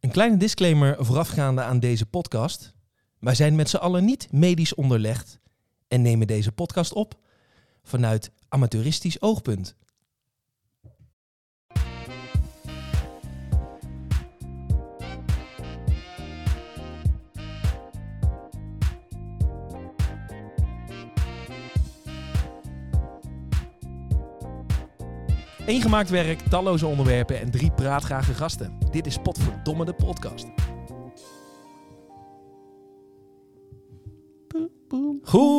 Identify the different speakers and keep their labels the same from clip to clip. Speaker 1: Een kleine disclaimer voorafgaande aan deze podcast. Wij zijn met z'n allen niet medisch onderlegd en nemen deze podcast op vanuit amateuristisch oogpunt. Eén gemaakt werk, talloze onderwerpen en drie praatgrage gasten. Dit is Potverdomme de podcast.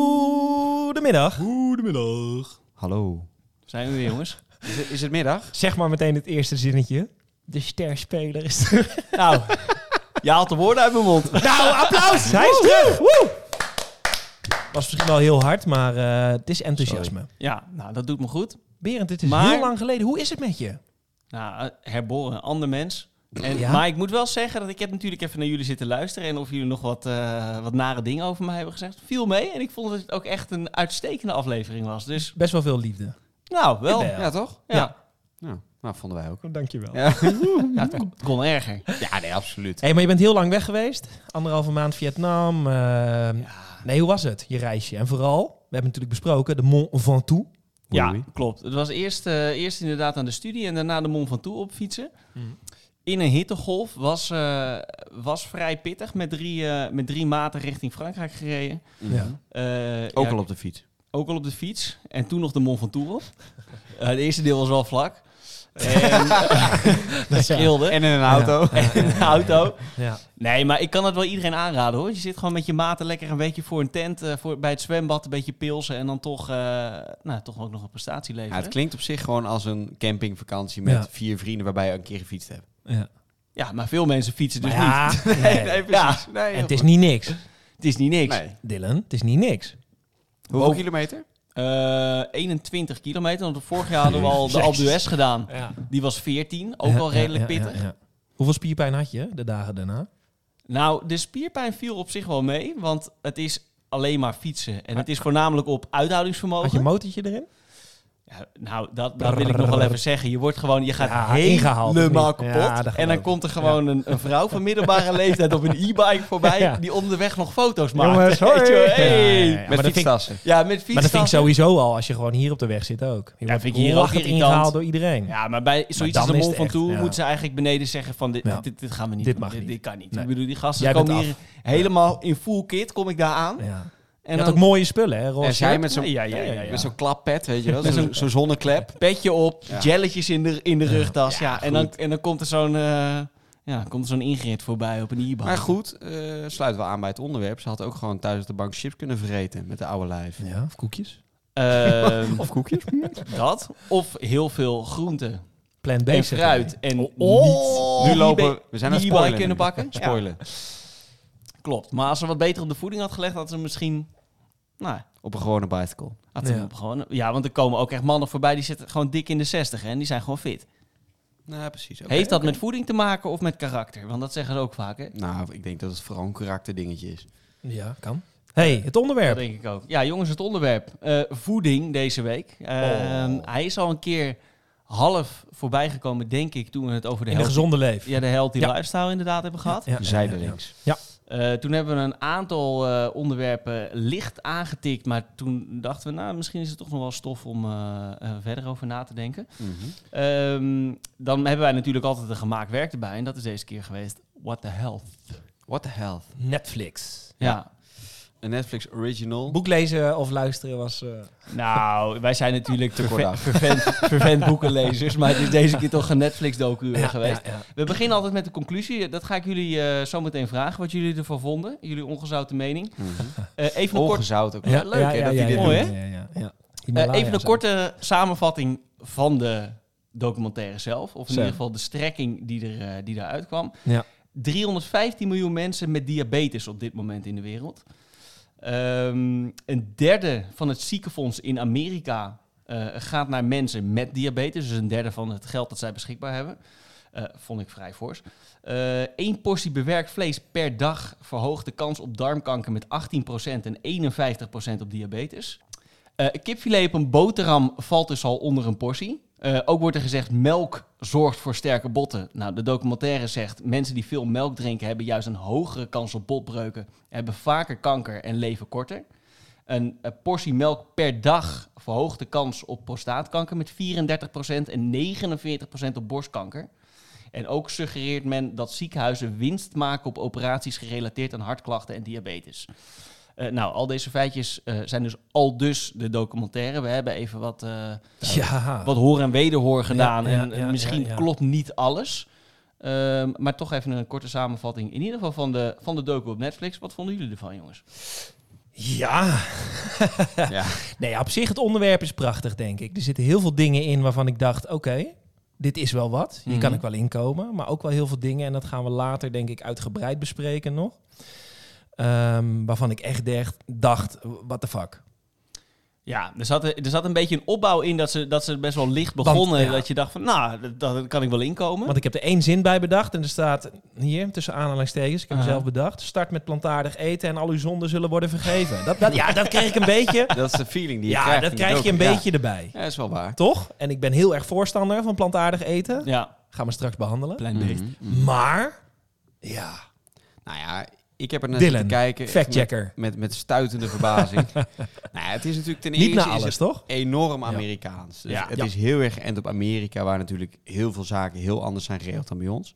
Speaker 1: Goedemiddag.
Speaker 2: Goedemiddag.
Speaker 3: Hallo.
Speaker 2: Zijn we weer, jongens? Is het, is het middag?
Speaker 1: Zeg maar meteen het eerste zinnetje. De sterspeler is terug.
Speaker 2: Nou, je haalt de woorden uit mijn mond.
Speaker 1: Nou, applaus! Hij is terug! Was misschien wel heel hard, maar eh, het is enthousiasme.
Speaker 2: Ja, nou, dat doet me goed.
Speaker 1: Berend, dit is
Speaker 2: Maar-
Speaker 1: heel lang geleden. Hoe is het met je?
Speaker 2: Nou, eh, herboren, een ander mens. En,
Speaker 1: Ja.
Speaker 2: Maar ik moet wel zeggen dat ik heb natuurlijk even naar jullie zitten luisteren. En of jullie nog wat, eh, wat nare dingen over mij hebben gezegd. Viel mee. En ik vond dat het ook echt een uitstekende aflevering was. Dus,
Speaker 1: Best wel veel liefde.
Speaker 2: nou, wel.
Speaker 1: Jawel.
Speaker 2: Ja,
Speaker 3: Ja, toch?
Speaker 2: ja.
Speaker 1: Ja.
Speaker 3: Ja, nou, vonden wij ook.
Speaker 1: Dankjewel.
Speaker 3: Ja,
Speaker 2: Ja, het kon- kon erger.
Speaker 3: ja nee, absoluut.
Speaker 1: hey, maar je bent heel lang weg geweest. Anderhalve maand Vietnam. eh, Nee, hoe was het, je reisje? En vooral, we hebben natuurlijk besproken, de Mont Ventoux.
Speaker 2: Ja,
Speaker 3: Oei.
Speaker 2: klopt. Het was eerst, eh, eerst inderdaad aan de studie en daarna de Mont Ventoux op fietsen.
Speaker 1: Mm.
Speaker 2: In een hittegolf was, eh, was vrij pittig. Met drie, eh, met drie maten richting Frankrijk gereden.
Speaker 3: Mhm.
Speaker 1: Ja.
Speaker 2: Eh,
Speaker 3: Ook
Speaker 2: ja,
Speaker 3: al op de fiets.
Speaker 2: ook al op de fiets. En toen nog de Mont Ventoux op. Eh, het eerste deel was wel vlak. En dat scheelde. En
Speaker 3: in een
Speaker 1: auto.
Speaker 2: in de auto.
Speaker 1: Ja.
Speaker 2: Nee, maar ik kan het wel iedereen aanraden hoor. Je zit gewoon met je maten lekker een beetje voor een tent, eh, voor, bij het zwembad, een beetje pilsen en dan toch, eh, nou, toch ook nog een prestatie leveren.
Speaker 3: het klinkt op zich gewoon als een campingvakantie met
Speaker 1: Ja.
Speaker 3: vier vrienden waarbij je een keer gefietst hebt.
Speaker 1: Ja.
Speaker 2: Ja, maar veel mensen fietsen dus
Speaker 1: Maar ja,
Speaker 2: niet.
Speaker 1: nee.
Speaker 2: Ja,
Speaker 3: Nee,
Speaker 1: En het is niet niks,
Speaker 2: het is niet niks.
Speaker 3: Nee.
Speaker 1: Dylan. Het is niet niks.
Speaker 3: Hoeveel
Speaker 2: Boven-
Speaker 3: kilometer?
Speaker 2: Eh, 21 kilometer, want vorig jaar hadden we al de Alpe d'Huez gedaan.
Speaker 1: Ja.
Speaker 2: Die was 14, ook wel redelijk pittig.
Speaker 1: Hoeveel spierpijn had je de dagen daarna?
Speaker 2: Nou, de spierpijn viel op zich wel mee, want het is alleen maar fietsen. En het is voornamelijk op uithoudingsvermogen.
Speaker 1: Had je een motortje erin?
Speaker 2: Ja, nou, dat, dat wil ik nog wel even zeggen. Je wordt gewoon, je gaat
Speaker 1: Ja, ingehaald, of
Speaker 2: helemaal
Speaker 1: niet?
Speaker 2: kapot.
Speaker 1: Ja, dat
Speaker 2: en
Speaker 1: geloof
Speaker 2: dan
Speaker 1: ik.
Speaker 2: komt er gewoon een, een vrouw van middelbare leeftijd op een e-bike voorbij,
Speaker 1: Ja.
Speaker 2: die onderweg nog foto's maakt.
Speaker 1: Jongens,
Speaker 2: Weet je
Speaker 1: hoi.
Speaker 2: wel,
Speaker 1: Ja, ja,
Speaker 2: hey.
Speaker 1: ja. maar
Speaker 2: ja,
Speaker 1: dat
Speaker 3: met
Speaker 1: vind ik-
Speaker 3: fietstassen.
Speaker 2: met fiets.
Speaker 1: Maar dat vind ik sowieso al, als je gewoon hier op de weg zit ook. Je wordt
Speaker 2: vind ik hier ook
Speaker 1: lachend
Speaker 2: irritant.
Speaker 1: ingehaald door iedereen.
Speaker 2: Ja, maar bij zoiets
Speaker 1: dan
Speaker 2: als de
Speaker 1: is
Speaker 2: mol
Speaker 1: het
Speaker 2: van
Speaker 1: echt,
Speaker 2: toe
Speaker 1: ja.
Speaker 2: moeten ze eigenlijk beneden zeggen van dit,
Speaker 1: Ja.
Speaker 2: dit, dit gaan we niet
Speaker 1: Dit
Speaker 2: doen.
Speaker 1: mag
Speaker 2: dit,
Speaker 1: niet.
Speaker 2: kan niet.
Speaker 1: Nee.
Speaker 2: Ik bedoel, die gasten
Speaker 1: Jij
Speaker 2: komen
Speaker 1: bent
Speaker 2: hier helemaal in full kit, kom ik daar aan.
Speaker 1: Ja.
Speaker 2: En
Speaker 1: je had
Speaker 2: dan
Speaker 1: ook mooie spullen, hè?
Speaker 3: En
Speaker 1: Roze
Speaker 3: zij
Speaker 1: shirt.
Speaker 3: met zo'n
Speaker 2: Ja, ja, ja, ja, ja.
Speaker 3: met zo'n klappet, weet je wel?
Speaker 2: Met
Speaker 3: Zo'n
Speaker 2: zo'n-
Speaker 3: zo'n zonneklep.
Speaker 2: petje op,
Speaker 3: Ja.
Speaker 2: jelletjes in de, in de rugtas. Ja, en, dan,
Speaker 3: goed.
Speaker 2: en dan komt er zo'n eh, ja, komt er zo'n ingrid voorbij op een e-bike.
Speaker 3: Maar goed, eh, sluiten we aan bij het onderwerp. Ze had ook gewoon thuis op de bank chips kunnen vergeten met de oude lijf.
Speaker 1: Ja, of koekjes.
Speaker 2: Ehm,
Speaker 3: Of koekjes.
Speaker 2: dat, of heel veel groenten
Speaker 1: Plant
Speaker 2: en
Speaker 1: based.
Speaker 2: fruit. En
Speaker 1: oh.
Speaker 2: niet
Speaker 3: Nu lopen we zijn aan
Speaker 2: die
Speaker 3: het
Speaker 2: e-bike
Speaker 3: spoilen.
Speaker 2: kunnen
Speaker 3: nu.
Speaker 2: bakken. Ja,
Speaker 3: Spoilen.
Speaker 2: klopt. Maar als ze wat beter op de voeding had gelegd, had ze misschien... Nou,
Speaker 3: Op een gewone bicycle.
Speaker 2: Had ze
Speaker 1: Ja.
Speaker 2: hem op gewoon, ja, want er komen ook echt mannen voorbij die zitten gewoon dik in de 60 hè, en die zijn gewoon fit.
Speaker 3: Nou, precies. Oké,
Speaker 2: Heeft dat
Speaker 3: oké.
Speaker 2: met voeding te maken of met karakter? Want dat zeggen ze ook vaak, hè?
Speaker 3: Nou, ik denk dat het vooral een karakterdingetje is.
Speaker 1: Ja, kan. hey, het onderwerp.
Speaker 2: Dat denk ik ook. Ja, jongens, het onderwerp. eh, voeding deze week. Ehm, Hij is al een keer half voorbijgekomen, denk ik, toen we het over de
Speaker 1: In een
Speaker 2: healthy,
Speaker 1: gezonde leven.
Speaker 2: ja, de healthy
Speaker 1: Ja.
Speaker 2: lifestyle inderdaad hebben gehad.
Speaker 1: Ja, ja,
Speaker 3: Zijdelings.
Speaker 2: Eh, toen hebben we een aantal eh, onderwerpen licht aangetikt, maar toen dachten we, nou, misschien is het toch nog wel stof om eh, eh, verder over na te denken.
Speaker 3: Mhm.
Speaker 2: Ehm, dan hebben wij natuurlijk altijd een gemaakt werk erbij. En dat is deze keer geweest What the Health.
Speaker 3: What the hell?
Speaker 1: ja. Netflix.
Speaker 2: Ja.
Speaker 3: Een Netflix original.
Speaker 1: Boek lezen of luisteren was... eh,
Speaker 2: Nou, wij zijn natuurlijk te
Speaker 3: Kortaf.
Speaker 2: vervent, vervent boekenlezers. Maar het is deze keer toch een Netflix-docu eh, geweest.
Speaker 1: ja, ja.
Speaker 2: We beginnen altijd met de conclusie. Dat ga ik jullie eh, zo meteen vragen. Wat jullie ervan vonden. Jullie ongezouten mening.
Speaker 3: Mhm.
Speaker 2: Eh, even een, kort,
Speaker 3: Ongezout ook.
Speaker 1: Ja,
Speaker 3: Leuk
Speaker 1: ja,
Speaker 3: hè,
Speaker 1: ja,
Speaker 3: dat
Speaker 1: ja,
Speaker 3: hij dit
Speaker 1: ja,
Speaker 2: Mooi,
Speaker 1: ja,
Speaker 2: hè?
Speaker 1: ja, ja, ja.
Speaker 2: eh,
Speaker 1: Himalaya
Speaker 2: even een
Speaker 1: zo.
Speaker 2: korte samenvatting van de documentaire zelf. Of in
Speaker 1: Zo.
Speaker 2: ieder geval de strekking die, er, eh, die daaruit kwam.
Speaker 1: Ja.
Speaker 2: 315 miljoen mensen met diabetes op dit moment in de wereld. Ehm, een derde van het ziekenfonds in Amerika eh, gaat naar mensen met diabetes. Dus een derde van het geld dat zij beschikbaar hebben. Eh, vond ik vrij fors. Eén portie bewerkt vlees per dag verhoogt de kans op darmkanker met 18% en 51% op diabetes. Eh kipfilet op een boterham valt dus al onder een portie. Eh, ook wordt er gezegd, melk zorgt voor sterke botten. Nou, de documentaire zegt, mensen die veel melk drinken... hebben juist een hogere kans op botbreuken... hebben vaker kanker en leven korter. Een eh, portie melk per dag verhoogt de kans op prostaatkanker... met 34% en 49% op borstkanker. En ook suggereert men dat ziekenhuizen winst maken op operaties gerelateerd aan hartklachten en diabetes. Eh, nou, al deze feitjes eh, zijn dus al dus de documentaire. We hebben even wat, eh,
Speaker 1: Ja.
Speaker 2: wat hoor en wederhoor gedaan.
Speaker 1: Ja, ja,
Speaker 2: en eh,
Speaker 1: ja,
Speaker 2: misschien
Speaker 1: ja, ja.
Speaker 2: klopt niet alles. Ehm, maar toch even een korte samenvatting. In ieder geval van de, van de docu op Netflix. Wat vonden jullie ervan, jongens?
Speaker 1: Ja.
Speaker 3: Ja.
Speaker 1: Nee, op zich het onderwerp is prachtig, denk ik. Er zitten heel veel dingen in waarvan ik dacht, oké, dit is wel wat. Hier kan
Speaker 2: Mhm.
Speaker 1: ik wel inkomen. Maar ook wel heel veel dingen, en dat gaan we later, denk ik, uitgebreid bespreken nog. Ehm, waarvan ik echt dacht, dacht what the fuck.
Speaker 2: Ja, er zat, er zat een beetje een opbouw in dat ze, dat ze best wel licht
Speaker 1: Want,
Speaker 2: begonnen.
Speaker 1: ja.
Speaker 2: Dat je dacht van, nou, dat, dat kan ik wel inkomen.
Speaker 1: Want ik heb er één zin bij bedacht en er staat hier, tussen aanhalingstekens, ik heb hem
Speaker 2: Aha.
Speaker 1: zelf bedacht. Start met plantaardig eten en al uw zonden zullen worden vergeven. Dat, dat, ja, dat kreeg ik een beetje.
Speaker 3: Dat is de feeling die je
Speaker 1: ja,
Speaker 3: krijgt.
Speaker 1: dat
Speaker 3: in de
Speaker 1: krijg je een
Speaker 3: docu. Ja.
Speaker 1: beetje erbij.
Speaker 3: Ja, dat is wel waar.
Speaker 1: Toch? En ik ben heel erg voorstander van plantaardig eten.
Speaker 2: ja,
Speaker 1: Gaan we straks behandelen.
Speaker 2: klein beest.
Speaker 3: Mhm.
Speaker 1: Maar, ja,
Speaker 3: Nou ja, ik heb er net
Speaker 1: Dylan,
Speaker 3: te kijken. echt
Speaker 1: factchecker.
Speaker 3: Met, met, met stuitende verbazing. nou ja, het is natuurlijk ten eerste
Speaker 1: Niet naar
Speaker 3: is
Speaker 1: alles,
Speaker 3: het
Speaker 1: toch?
Speaker 3: enorm
Speaker 1: Ja.
Speaker 3: Amerikaans. Dus
Speaker 2: Ja.
Speaker 3: Het
Speaker 1: Ja.
Speaker 3: is heel erg geënt op Amerika, waar natuurlijk heel veel zaken heel anders zijn geregeld dan bij ons.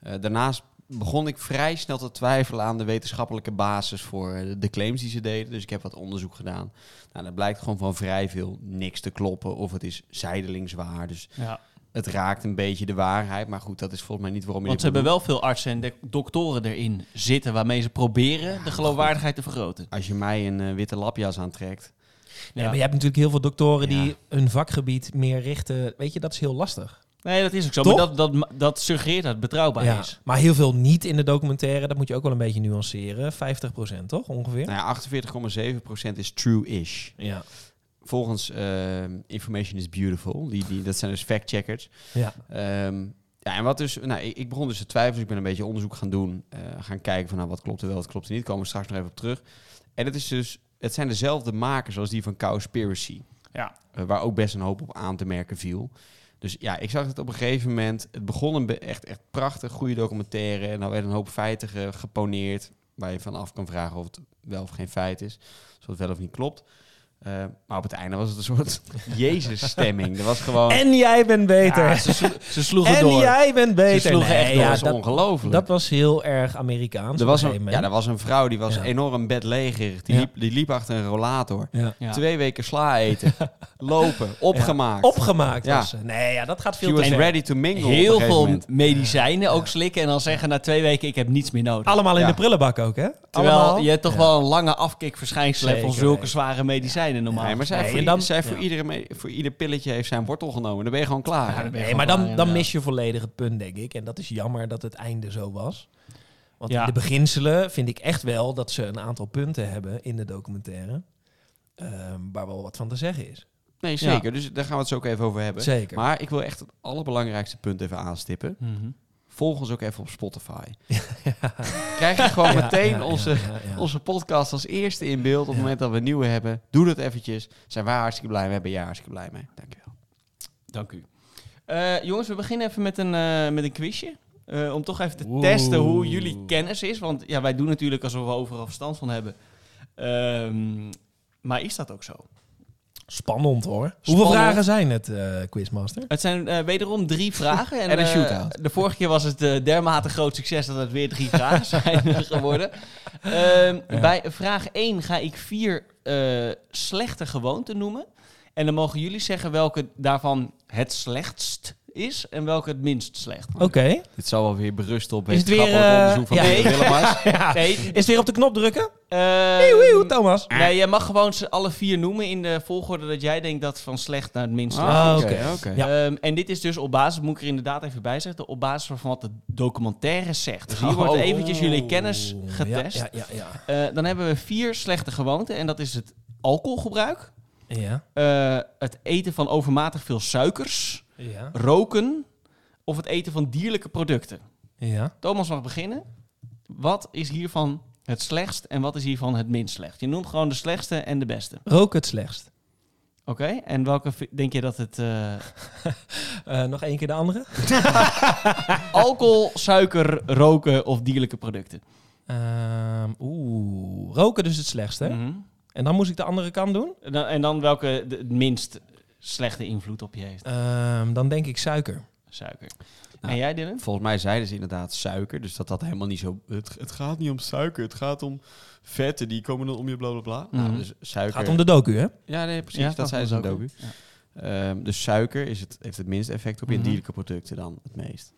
Speaker 3: Eh, daarnaast begon ik vrij snel te twijfelen aan de wetenschappelijke basis voor eh, de claims die ze deden. Dus ik heb wat onderzoek gedaan. Nou, dat blijkt gewoon van vrij veel niks te kloppen. Of het is zijdelings waar. Dus
Speaker 2: Ja.
Speaker 3: het raakt een beetje de waarheid. Maar goed, dat is volgens mij niet waarom je
Speaker 2: Want ze
Speaker 3: dit moet
Speaker 2: hebben wel veel artsen en dek- doktoren erin zitten waarmee ze proberen de geloofwaardigheid te vergroten.
Speaker 3: Als je mij een eh, witte lapjas aantrekt.
Speaker 1: Nee,
Speaker 2: Ja.
Speaker 1: maar je hebt natuurlijk heel veel doktoren
Speaker 3: Ja.
Speaker 1: die hun vakgebied meer richten. Weet je, dat is heel lastig.
Speaker 2: Nee, dat is ook zo.
Speaker 1: Toch?
Speaker 2: Maar dat, dat, ma- dat suggereert dat het betrouwbaar
Speaker 1: Ja,
Speaker 2: is.
Speaker 1: Maar heel veel niet in de documentaire, dat moet je ook wel een beetje nuanceren. 50% toch, ongeveer?
Speaker 3: Nou ja, 48,7% is true-ish.
Speaker 1: Ja.
Speaker 3: Volgens eh, Information is Beautiful. Die, die, dat zijn dus fact-checkers.
Speaker 1: ja.
Speaker 3: Ehm, ja, en wat dus... Nou, ik, ik begon dus te twijfelen. Dus ik ben een beetje onderzoek gaan doen. eh, gaan kijken van nou, wat klopt er wel, wat klopt er niet. Komen we straks nog even op terug. En het is dus... Het zijn dezelfde makers als die van Cowspiracy.
Speaker 2: Ja.
Speaker 3: Eh, waar ook best een hoop op aan te merken viel. Dus ja, ik zag het op een gegeven moment. Het begon een be- echt, echt prachtig, goede documentaire. En dan werden een hoop feiten ge- geponeerd. Waar je van af kan vragen of het wel of geen feit is. Of het wel of niet klopt. Eh, maar op het einde was het een soort Jezus-stemming. Er was gewoon.
Speaker 1: En jij bent beter.
Speaker 2: Ja, ze, slo- ze sloegen
Speaker 1: en
Speaker 2: door.
Speaker 1: jij bent beter.
Speaker 2: Ze sloegen echt
Speaker 3: door.
Speaker 1: ja,
Speaker 3: Dat is
Speaker 1: dat,
Speaker 3: ongelooflijk.
Speaker 1: dat was heel erg Amerikaans.
Speaker 3: er
Speaker 1: op
Speaker 3: was
Speaker 1: een
Speaker 3: een,
Speaker 1: gegeven
Speaker 3: ja, er was een vrouw die was
Speaker 1: Ja.
Speaker 3: enorm bedlegerig. Die,
Speaker 1: Ja.
Speaker 3: liep, die liep achter een rollator.
Speaker 1: moment. Ja.
Speaker 2: Ja.
Speaker 3: Twee weken sla eten. lopen. Opgemaakt.
Speaker 1: Opgemaakt
Speaker 3: Ja.
Speaker 1: was ze. Nee, ja, dat gaat
Speaker 3: She
Speaker 1: veel te
Speaker 3: was
Speaker 1: ver.
Speaker 3: ready to mingle. op een
Speaker 2: Heel
Speaker 3: gegeven
Speaker 2: veel
Speaker 3: moment.
Speaker 2: medicijnen ook slikken en dan zeggen na twee weken ik heb niets meer nodig.
Speaker 1: Allemaal in
Speaker 3: Ja.
Speaker 1: de prullenbak ook, hè?
Speaker 2: Terwijl
Speaker 1: Allemaal.
Speaker 2: je toch
Speaker 1: Ja.
Speaker 2: wel een lange afkikverschijnsel hebt van
Speaker 1: Zeker
Speaker 2: zulke
Speaker 1: weten.
Speaker 2: zware medicijnen normaal.
Speaker 3: Nee, maar zij
Speaker 1: Nee,
Speaker 3: voor,
Speaker 1: en
Speaker 3: i-
Speaker 1: dan-
Speaker 3: zij voor,
Speaker 2: ja.
Speaker 3: iedere me- voor ieder pilletje heeft zijn wortel genomen. Dan ben je gewoon klaar.
Speaker 2: Ja, dan ben je
Speaker 1: Nee,
Speaker 2: gewoon
Speaker 1: maar dan,
Speaker 2: klaar,
Speaker 1: dan
Speaker 2: inderdaad.
Speaker 1: mis je volledig het punt, denk ik. En dat is jammer dat het einde zo was. Want
Speaker 2: Ja.
Speaker 1: in de beginselen vind ik echt wel dat ze een aantal punten hebben in de documentaire. ehm, waar wel wat van te zeggen is.
Speaker 3: Nee, zeker. Dus daar gaan we het zo ook even over hebben.
Speaker 1: Zeker.
Speaker 3: Maar ik wil echt het allerbelangrijkste punt even aanstippen.
Speaker 2: Mhm.
Speaker 3: Volg ons ook even op Spotify. Krijg je gewoon
Speaker 1: Ja,
Speaker 3: meteen
Speaker 1: ja, ja,
Speaker 3: onze,
Speaker 1: ja, ja.
Speaker 3: onze podcast als eerste in beeld. Op het
Speaker 1: Ja.
Speaker 3: moment dat we een nieuwe hebben. Doe dat eventjes. Zijn wij hartstikke blij mee. Ben jij hartstikke blij mee. Dankjewel.
Speaker 2: Dank u. Eh, jongens, we beginnen even met een, eh, met een quizje. Eh, om toch even te
Speaker 3: Oeh.
Speaker 2: testen hoe jullie kennis is. Want ja, wij doen natuurlijk alsof we overal verstand van hebben. Ehm, maar is dat ook zo?
Speaker 1: Spannend hoor.
Speaker 2: Spannend.
Speaker 1: Hoeveel vragen zijn het, eh, Quizmaster?
Speaker 2: Het zijn eh, wederom drie vragen. En,
Speaker 3: En een
Speaker 2: eh,
Speaker 3: shootout.
Speaker 2: de vorige keer was het eh, dermate groot succes dat het weer drie vragen zijn geworden. Ehm,
Speaker 1: Ja.
Speaker 2: Bij vraag 1 ga ik vier eh, slechte gewoonten noemen. En dan mogen jullie zeggen welke daarvan het slechtst is en welke het minst slecht.
Speaker 1: Oké.
Speaker 3: Dit zal wel weer berusten op
Speaker 1: Is het weer,
Speaker 3: wetenschappelijk
Speaker 1: eh,
Speaker 3: onderzoek van
Speaker 1: ja.
Speaker 3: Peter Willemars.
Speaker 1: Ja.
Speaker 2: Nee,
Speaker 1: Is het weer op de knop drukken?
Speaker 2: eh,
Speaker 1: Wieuw, wieuw, Thomas.
Speaker 2: Nee, je mag gewoon ze alle vier noemen in de volgorde dat jij denkt dat van slecht naar het minst.
Speaker 1: Ah.
Speaker 3: Ah,
Speaker 1: oké.
Speaker 3: oké.
Speaker 1: Ja.
Speaker 2: Ehm, en dit is dus op basis, moet ik er inderdaad even bij zeggen, op basis van wat de documentaire zegt. Dus hier
Speaker 3: Oh.
Speaker 2: wordt eventjes jullie kennis
Speaker 1: Oeh,
Speaker 2: getest.
Speaker 1: Ja, ja, ja.
Speaker 2: Eh, dan hebben we vier slechte gewoonten en dat is het alcoholgebruik,
Speaker 1: Ja. ja.
Speaker 2: eh, het eten van overmatig veel suikers,
Speaker 1: ja.
Speaker 2: roken of het eten van dierlijke producten.
Speaker 1: ja.
Speaker 2: Thomas mag beginnen. Wat is hiervan het slechtst en wat is hiervan het minst slecht? Je noemt gewoon de slechtste en de beste.
Speaker 1: Rook het slechtst.
Speaker 2: Oké, en welke vi- denk je dat het... eh,
Speaker 1: Eh, nog één keer de andere.
Speaker 2: alcohol, suiker, roken of dierlijke producten?
Speaker 1: Ehm, Oeh, roken dus het slechtste. hè?
Speaker 2: Mhm.
Speaker 1: En dan moest ik de andere kant doen.
Speaker 2: En dan- en dan welke de het minst slechte invloed op je heeft?
Speaker 1: Ehm, dan denk ik suiker.
Speaker 2: Suiker.
Speaker 3: Nou,
Speaker 2: en jij Dylan?
Speaker 3: Volgens mij zeiden ze inderdaad suiker, dus dat dat helemaal niet zo... Het, het gaat niet om suiker, het gaat om vetten, die komen dan om je bla bla bla.
Speaker 2: Mhm.
Speaker 3: Nou, dus
Speaker 1: Het
Speaker 3: suiker...
Speaker 1: gaat om de docu, hè?
Speaker 3: Ja, nee, precies,
Speaker 2: Ja,
Speaker 3: dat zeiden ze in de docu.
Speaker 2: Ja.
Speaker 3: Ehm, dus suiker is het, heeft het minste effect op je en
Speaker 2: Mhm.
Speaker 3: dierlijke producten dan het meest.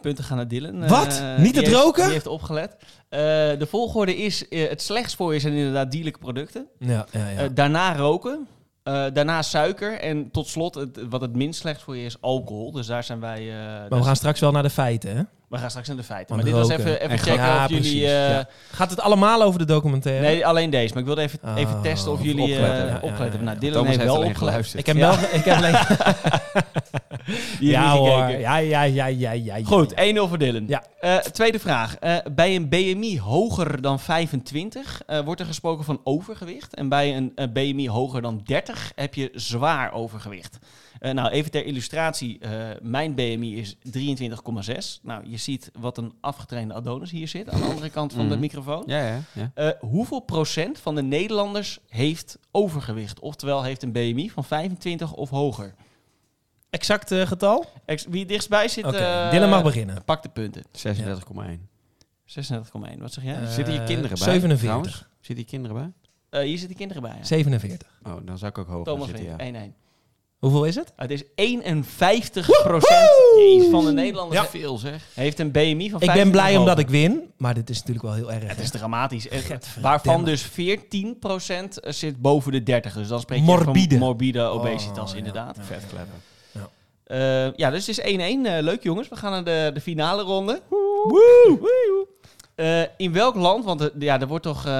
Speaker 2: Punten gaan naar Dylan.
Speaker 1: Wat?
Speaker 2: Eh,
Speaker 1: Niet
Speaker 2: die
Speaker 1: het
Speaker 2: heeft-
Speaker 1: roken?
Speaker 2: Die heeft opgelet. Eh, de volgorde is, eh, het slechtst voor je zijn inderdaad dierlijke producten.
Speaker 1: Ja, ja, ja.
Speaker 2: Eh, daarna roken. Eh, daarna suiker. En tot slot, het, wat het minst slecht voor je is, alcohol. Dus daar zijn wij... eh,
Speaker 1: maar
Speaker 2: daar-
Speaker 1: we gaan straks wel naar de feiten, hè?
Speaker 2: we gaan straks naar de feiten.
Speaker 1: Want
Speaker 2: Maar dit was
Speaker 1: roken
Speaker 2: even, even
Speaker 3: en
Speaker 2: checken
Speaker 1: Ja,
Speaker 2: of jullie...
Speaker 1: precies,
Speaker 2: eh,
Speaker 1: ja. Gaat het allemaal over de documentaire?
Speaker 2: Nee, alleen deze. Maar ik wilde even,
Speaker 1: Oh,
Speaker 2: even testen of
Speaker 1: of
Speaker 2: jullie
Speaker 3: opletten.
Speaker 2: opletten.
Speaker 3: Ja, ja,
Speaker 1: ja,
Speaker 2: opletten.
Speaker 1: ja.
Speaker 2: Nou, Dylan
Speaker 3: Thomas
Speaker 2: heeft
Speaker 3: heeft
Speaker 2: wel
Speaker 3: alleen
Speaker 2: opgelet.
Speaker 3: geluisterd.
Speaker 1: ik heb wel... Ik heb alleen...
Speaker 2: Die heeft
Speaker 1: ja,
Speaker 2: niet
Speaker 1: hoor.
Speaker 2: gekeken.
Speaker 1: Ja, ja, ja, ja, ja. ja.
Speaker 2: Goed, 1-0 voor Dylan.
Speaker 1: Ja.
Speaker 2: Eh, tweede vraag. Eh, bij een BMI hoger dan 25 eh, wordt er gesproken van overgewicht. En bij een eh, BMI hoger dan 30 heb je zwaar overgewicht. Eh, nou, even ter illustratie. eh, mijn BMI is 23,6. Nou, je ziet wat een afgetrainde Adonis hier zit. Aan de andere kant van de
Speaker 3: Mhm.
Speaker 2: microfoon.
Speaker 3: Ja, ja, ja.
Speaker 2: Eh, hoeveel procent van de Nederlanders heeft overgewicht? Oftewel heeft een BMI van 25 of hoger.
Speaker 1: Exact eh, getal? Oké,
Speaker 2: Ex- Wie het dichtstbij zit, eh,
Speaker 1: Dylan mag beginnen.
Speaker 2: pak de punten.
Speaker 3: 36,1.
Speaker 2: 36,1 wat zeg jij?
Speaker 1: Eh,
Speaker 3: Zitten hier kinderen bij?
Speaker 1: 47.
Speaker 3: trouwens? Zitten hier kinderen bij?
Speaker 2: Eh, hier zitten kinderen bij. ja.
Speaker 1: 47.
Speaker 3: Oh, dan zou ik ook hoog gaan
Speaker 2: Thomas
Speaker 3: zitten, ja.
Speaker 2: wint 1-1.
Speaker 1: Hoeveel is het?
Speaker 2: Het is 51 procent van de Nederlanders
Speaker 3: Ja. Veel zeg.
Speaker 2: heeft een BMI van 25
Speaker 1: Ik ben blij
Speaker 2: of
Speaker 1: omdat
Speaker 2: hoger.
Speaker 1: ik win, maar dit is natuurlijk wel heel erg.
Speaker 2: Het
Speaker 1: hè?
Speaker 2: is dramatisch. En- waarvan dus 14 procent eh, zit boven de 30. Dus dan spreek je
Speaker 1: Morbide. Oh,
Speaker 2: van morbide obesitas
Speaker 1: ja,
Speaker 2: inderdaad.
Speaker 1: ja.
Speaker 3: Vetkleppen.
Speaker 2: Eh, ja, dus het is 1-1. Eh, leuk jongens, we gaan naar de, de finale ronde. Eh, in welk land, want eh, ja, er wordt toch, eh,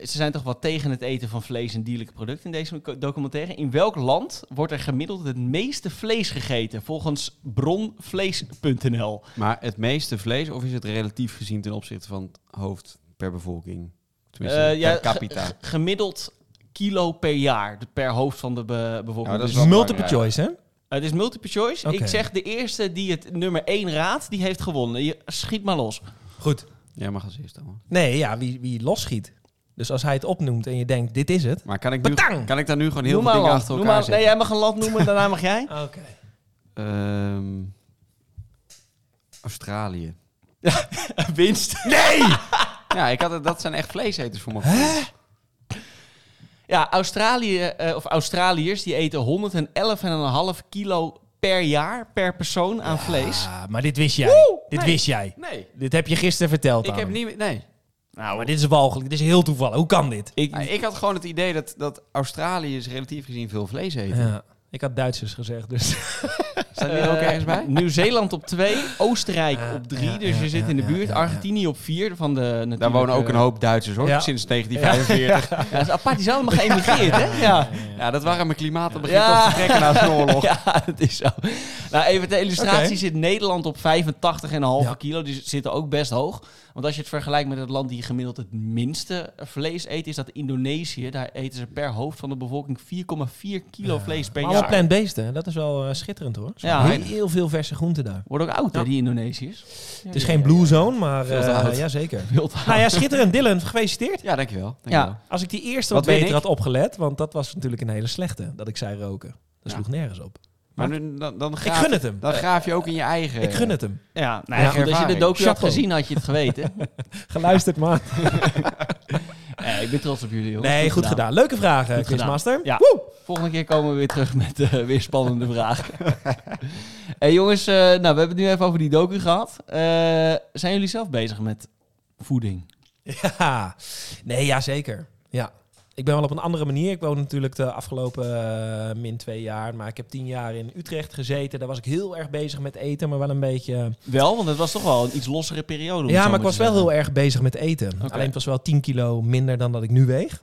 Speaker 2: ze zijn toch wat tegen het eten van vlees en dierlijke producten in deze co- documentaire. In welk land wordt er gemiddeld het meeste vlees gegeten volgens bronvlees.nl?
Speaker 3: Maar het meeste vlees, of is het relatief gezien ten opzichte van het hoofd per bevolking? Tenminste,
Speaker 2: Eh, ja,
Speaker 3: per capita.
Speaker 2: G- gemiddeld kilo per jaar, de- per hoofd van de be- bevolking.
Speaker 3: Nou, dat
Speaker 2: Dus,
Speaker 3: is wel
Speaker 1: Multiple
Speaker 3: belangrijk.
Speaker 1: choice, hè?
Speaker 2: eh, het is multiple choice.
Speaker 1: Oké.
Speaker 2: Ik zeg de eerste die het nummer 1 raadt, die heeft gewonnen. Je, schiet maar los.
Speaker 1: Goed.
Speaker 3: Jij mag als eerste, man.
Speaker 1: Nee, ja, wie, wie losschiet. Dus als hij het opnoemt en je denkt, dit is het.
Speaker 3: Maar kan ik, nu,
Speaker 1: Batang!
Speaker 3: kan ik daar nu gewoon heel
Speaker 2: Noem
Speaker 3: veel
Speaker 2: maar een
Speaker 3: dingen
Speaker 2: land.
Speaker 3: achter
Speaker 2: Noem
Speaker 3: elkaar
Speaker 2: maar- nee,
Speaker 3: zetten?
Speaker 2: jij mag een land noemen, daarna mag jij.
Speaker 1: Oké.
Speaker 3: Ehm, Australië. Eh,
Speaker 2: Winst.
Speaker 3: Ja, ik had het, dat zijn echt vleeseters voor mijn gevoel.
Speaker 2: Ja, Australië, eh, of Australiërs die eten 111,5 kilo per jaar per persoon aan vlees.
Speaker 1: Ah, maar dit wist jij. dit
Speaker 3: nee.
Speaker 1: wist jij.
Speaker 3: Nee,
Speaker 1: Dit heb je gisteren verteld
Speaker 3: ik
Speaker 1: aan
Speaker 3: heb
Speaker 1: hem.
Speaker 3: niet... Nee.
Speaker 2: Nou,
Speaker 1: Maar dit is walgelijk. Dit is heel toevallig. Hoe kan dit?
Speaker 2: ik,
Speaker 3: Ah, ik had gewoon het idee dat, dat Australiërs relatief gezien veel vlees eten.
Speaker 1: Ja, ik had Duitsers gezegd, dus...
Speaker 3: Zijn die er ook
Speaker 2: eh,
Speaker 3: ergens bij?
Speaker 2: Nieuw-Zeeland op 2, Oostenrijk
Speaker 1: Ja,
Speaker 2: op 3,
Speaker 1: ja,
Speaker 2: dus
Speaker 1: ja,
Speaker 2: je zit
Speaker 1: ja,
Speaker 2: in de
Speaker 1: ja,
Speaker 2: buurt.
Speaker 1: ja, ja.
Speaker 2: Argentinië op 4 van de natuurlijk,
Speaker 3: Daar wonen ook een
Speaker 2: eh,
Speaker 3: hoop Duitsers, hoor.
Speaker 1: Ja.
Speaker 3: Sinds 1945.
Speaker 2: Ja, dat is apart, die zijn allemaal geëmigreerd, hè? Ja.
Speaker 3: Ja, dat waren mijn klimaten begint
Speaker 2: Ja.
Speaker 3: toch te trekken na zo'n oorlog.
Speaker 2: Ja, dat is zo. Nou, even ter illustratie
Speaker 1: Oké.
Speaker 2: zit Nederland op 85,5
Speaker 1: Ja.
Speaker 2: kilo. Die zitten ook best hoog. Want als je het vergelijkt met het land die gemiddeld het minste vlees eet, is dat Indonesië. Daar eten ze per hoofd van de bevolking 4,4 kilo vlees per
Speaker 1: Allemaal
Speaker 2: jaar.
Speaker 1: plant-based, hè? Dat is wel eh, schitterend, hoor.
Speaker 2: Ja.
Speaker 1: Heel veel verse groenten daar.
Speaker 2: Worden ook oud, hè,
Speaker 1: Ja.
Speaker 2: die Indonesiërs.
Speaker 1: Het is geen blue zone, maar eh,
Speaker 3: Veel te
Speaker 1: ja
Speaker 3: oud.
Speaker 1: jazeker.
Speaker 2: Wild hout.
Speaker 1: Nou ja, schitterend. Dylan, gefeliciteerd.
Speaker 3: Ja, dankjewel.
Speaker 2: Ja.
Speaker 3: dankjewel.
Speaker 1: Als ik die eerste wat,
Speaker 3: Wat win
Speaker 1: beter
Speaker 3: ik?
Speaker 1: had opgelet, want dat was natuurlijk een hele slechte, dat ik zei roken. Dat
Speaker 3: Ja.
Speaker 1: sloeg nergens op.
Speaker 3: Maar nu, dan, dan,
Speaker 1: Ik
Speaker 3: graaf,
Speaker 1: gun het hem.
Speaker 3: dan graaf je ook in je eigen...
Speaker 1: Ik gun het hem.
Speaker 2: Ja, nou ja,
Speaker 1: Ja,
Speaker 2: goed, als je de
Speaker 3: ervaring.
Speaker 2: docu had
Speaker 1: Chapeau.
Speaker 2: gezien, had je het geweten.
Speaker 1: Geluisterd, maar.
Speaker 2: Eh, ik ben trots op jullie, jongens.
Speaker 1: Nee, goed
Speaker 3: Nou.
Speaker 1: gedaan. Leuke vragen,
Speaker 2: Goed
Speaker 1: Quizmaster.
Speaker 2: Ja. Volgende keer komen we weer terug met eh, weer spannende vragen. hey, jongens, eh, nou, we hebben het nu even over die docu gehad. Eh, zijn jullie zelf bezig met voeding?
Speaker 1: Ja, nee, ja, zeker. Ja. Ik ben wel op een andere manier. Ik woon natuurlijk de afgelopen eh, min twee jaar. Maar ik heb tien jaar in Utrecht gezeten. Daar was ik heel erg bezig met eten, maar wel een beetje...
Speaker 2: Wel, want het was toch wel een iets lossere periode. om het
Speaker 1: ja,
Speaker 2: zo
Speaker 1: maar ik
Speaker 2: te
Speaker 1: was wel
Speaker 2: zeggen.
Speaker 1: heel erg bezig met eten. Alleen het was wel 10 kilo minder dan dat ik nu weeg.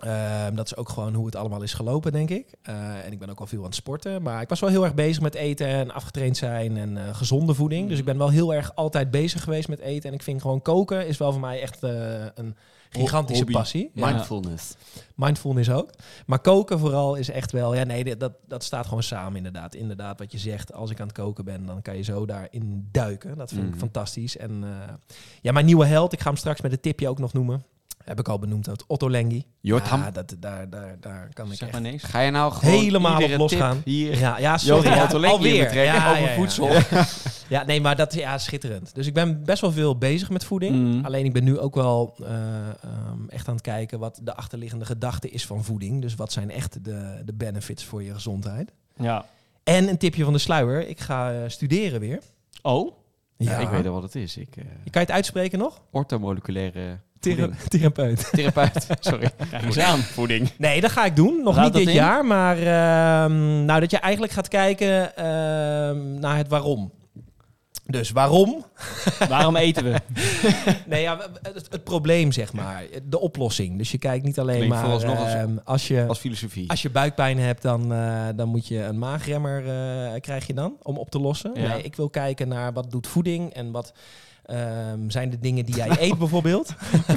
Speaker 1: Ehm, dat is ook gewoon hoe het allemaal is gelopen, denk ik. Eh, en ik ben ook al veel aan het sporten. Maar ik was wel heel erg bezig met eten en afgetraind zijn en eh, gezonde voeding. Dus ik ben wel heel erg altijd bezig geweest met eten. En ik vind gewoon koken is wel voor mij echt eh, een gigantische
Speaker 3: Hobby.
Speaker 1: passie.
Speaker 2: Ja.
Speaker 3: Mindfulness.
Speaker 1: Mindfulness ook. Maar koken vooral is echt wel... Ja, nee, dit- dat, dat staat gewoon samen inderdaad. Inderdaad, wat je zegt, als ik aan het koken ben... dan kan je zo daarin duiken. Dat vind
Speaker 3: Mhm.
Speaker 1: ik fantastisch. En eh, ja, mijn nieuwe held, ik ga hem straks met een tipje ook nog noemen... heb ik al benoemd, dat Otto Lengi.
Speaker 3: Jortam.
Speaker 1: Ja, dat, daar, daar, daar kan ik
Speaker 2: Zeg
Speaker 1: echt...
Speaker 2: maar niks.
Speaker 3: Ga je nou gewoon
Speaker 1: Helemaal
Speaker 3: iedere
Speaker 1: op los
Speaker 3: tip
Speaker 1: gaan.
Speaker 3: Hier.
Speaker 1: Ja, ja, sorry.
Speaker 3: Jordi
Speaker 1: ja,
Speaker 3: Altolengi in
Speaker 1: alweer.
Speaker 3: betrekking
Speaker 1: Ja,
Speaker 3: over
Speaker 1: ja, ja.
Speaker 3: voedsel.
Speaker 1: Ja. Ja, nee, maar dat is ja, schitterend. Dus ik ben best wel veel bezig met voeding.
Speaker 2: Mm.
Speaker 1: Alleen ik ben nu ook wel eh, ehm, echt aan het kijken wat de achterliggende gedachte is van voeding. Dus wat zijn echt de, de benefits voor je gezondheid.
Speaker 2: Ja.
Speaker 1: En een tipje van de sluier. Ik ga eh, studeren weer.
Speaker 2: Oh?
Speaker 3: Ja, ik weet
Speaker 1: het.
Speaker 3: al wat het is. Ik,
Speaker 1: Kan
Speaker 3: eh
Speaker 1: je het uitspreken nog?
Speaker 3: ortomoleculaire
Speaker 1: Thera-
Speaker 3: voeding.
Speaker 1: Therapeut.
Speaker 3: therapeut. Sorry.
Speaker 2: Kijk eens aan.
Speaker 3: Voeding.
Speaker 1: Nee, dat ga ik doen. Nog
Speaker 2: Laat
Speaker 1: niet
Speaker 2: dat
Speaker 1: dit
Speaker 2: in.
Speaker 1: jaar. Maar ehm, nou, dat je eigenlijk gaat kijken ehm, naar het waarom. Dus waarom
Speaker 2: Waarom eten we?
Speaker 1: Nee, ja, het, het probleem, zeg maar. De oplossing. Dus je kijkt niet alleen
Speaker 3: Klinkt
Speaker 1: maar...
Speaker 3: vooralsnog als-
Speaker 1: ehm, als, je,
Speaker 3: Als filosofie.
Speaker 1: als je buikpijn hebt, dan, eh, dan moet je een maagremmer eh, krijg je dan om op te lossen.
Speaker 2: Ja.
Speaker 1: Nee, ik wil kijken naar wat doet voeding en wat ehm, zijn de dingen die jij eet bijvoorbeeld.
Speaker 3: We
Speaker 1: Ehm,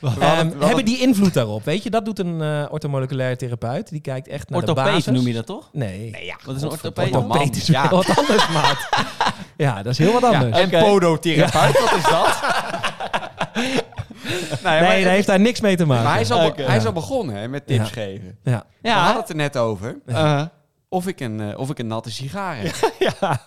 Speaker 3: hadden- we hadden-
Speaker 1: hebben die invloed daarop? Weet je, dat doet een eh orthomoleculaire therapeut. Die kijkt echt naar de
Speaker 2: Orthopeet
Speaker 1: basis.
Speaker 2: noem je dat toch?
Speaker 1: Nee.
Speaker 3: Nee, ja.
Speaker 2: Wat is een orthopeet?
Speaker 1: Orthopeet
Speaker 3: orthopeet? man.
Speaker 1: is weer
Speaker 3: Ja.
Speaker 1: wat anders, maat. ja, dat is heel wat
Speaker 3: Ja, eh,
Speaker 1: anders.
Speaker 3: en
Speaker 2: Oké.
Speaker 3: podotherapeut, wat is dat? nee, maar-
Speaker 1: nee, daar heeft daar niks mee te maken.
Speaker 3: Maar hij is al,
Speaker 2: Oké.
Speaker 3: hij is al begonnen hè, met tips
Speaker 1: Ja.
Speaker 3: geven.
Speaker 1: Ja. Uh-huh.
Speaker 3: We
Speaker 2: Ja.
Speaker 3: hadden het er net over. Of ik een, eh, of ik een natte sigaar heb
Speaker 1: ja.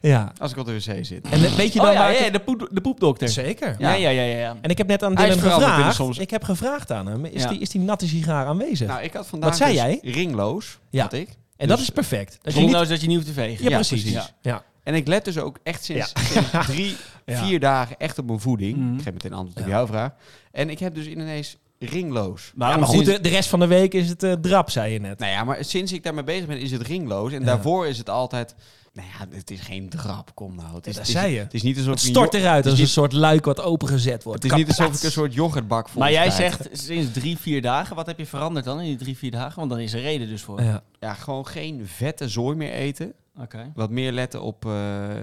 Speaker 1: ja.
Speaker 3: als ik op de wc zit.
Speaker 1: En weet je
Speaker 2: Oh
Speaker 1: dan
Speaker 2: ja,
Speaker 1: waar ik-
Speaker 2: ja, de, poep, de poepdokter.
Speaker 1: Zeker.
Speaker 2: Ja, ja, ja, ja. ja.
Speaker 1: En ik heb net aan
Speaker 3: Hij is
Speaker 1: Dylan
Speaker 3: veranderd in de
Speaker 1: gevraagd.
Speaker 3: soms.
Speaker 1: Ik heb gevraagd aan hem. Is,
Speaker 2: Ja.
Speaker 1: die, is die natte sigaar aanwezig?
Speaker 3: Nou, ik had vandaag
Speaker 1: Wat zei
Speaker 3: dus
Speaker 1: jij?
Speaker 3: ringloos,
Speaker 1: Ja.
Speaker 3: had ik.
Speaker 1: en
Speaker 2: dus
Speaker 1: dat is perfect. Dat je
Speaker 2: Zonder
Speaker 1: niet...
Speaker 2: nou dat je niet hoeft te vegen.
Speaker 1: Ja, precies.
Speaker 2: Ja.
Speaker 1: Ja. Ja.
Speaker 3: En ik let dus ook echt sinds, sinds drie,
Speaker 1: Ja.
Speaker 3: vier dagen echt op mijn voeding.
Speaker 2: Mhm.
Speaker 3: Ik geef meteen antwoord op
Speaker 1: Ja. Nou,
Speaker 3: jouw vraag. En ik heb dus ineens ringloos.
Speaker 2: Waarom
Speaker 1: maar goed,
Speaker 2: sinds-
Speaker 1: de, de rest van de week is het eh, drap, zei je net.
Speaker 3: Nou ja, maar sinds ik daarmee bezig ben is het ringloos. En
Speaker 1: Ja.
Speaker 3: daarvoor is het altijd... Nou ja, het is geen drap, kom nou. Het is,
Speaker 1: dat
Speaker 3: het is-
Speaker 1: zei je.
Speaker 3: Het is niet alsof
Speaker 1: Het
Speaker 3: ik een
Speaker 1: stort
Speaker 3: jo-
Speaker 1: eruit
Speaker 3: is
Speaker 1: als een
Speaker 3: niet-
Speaker 1: soort luik wat opengezet wordt.
Speaker 3: Het is niet
Speaker 1: Kaplats.
Speaker 3: alsof ik een soort yoghurtbak vol
Speaker 2: Maar jij
Speaker 3: spijt.
Speaker 2: zegt sinds drie, vier dagen. Wat heb je veranderd dan in die drie, vier dagen? Want dan is er reden dus voor.
Speaker 1: Ja.
Speaker 3: Ja, gewoon geen vette zooi meer eten.
Speaker 2: Oké.
Speaker 3: Wat meer letten op, eh,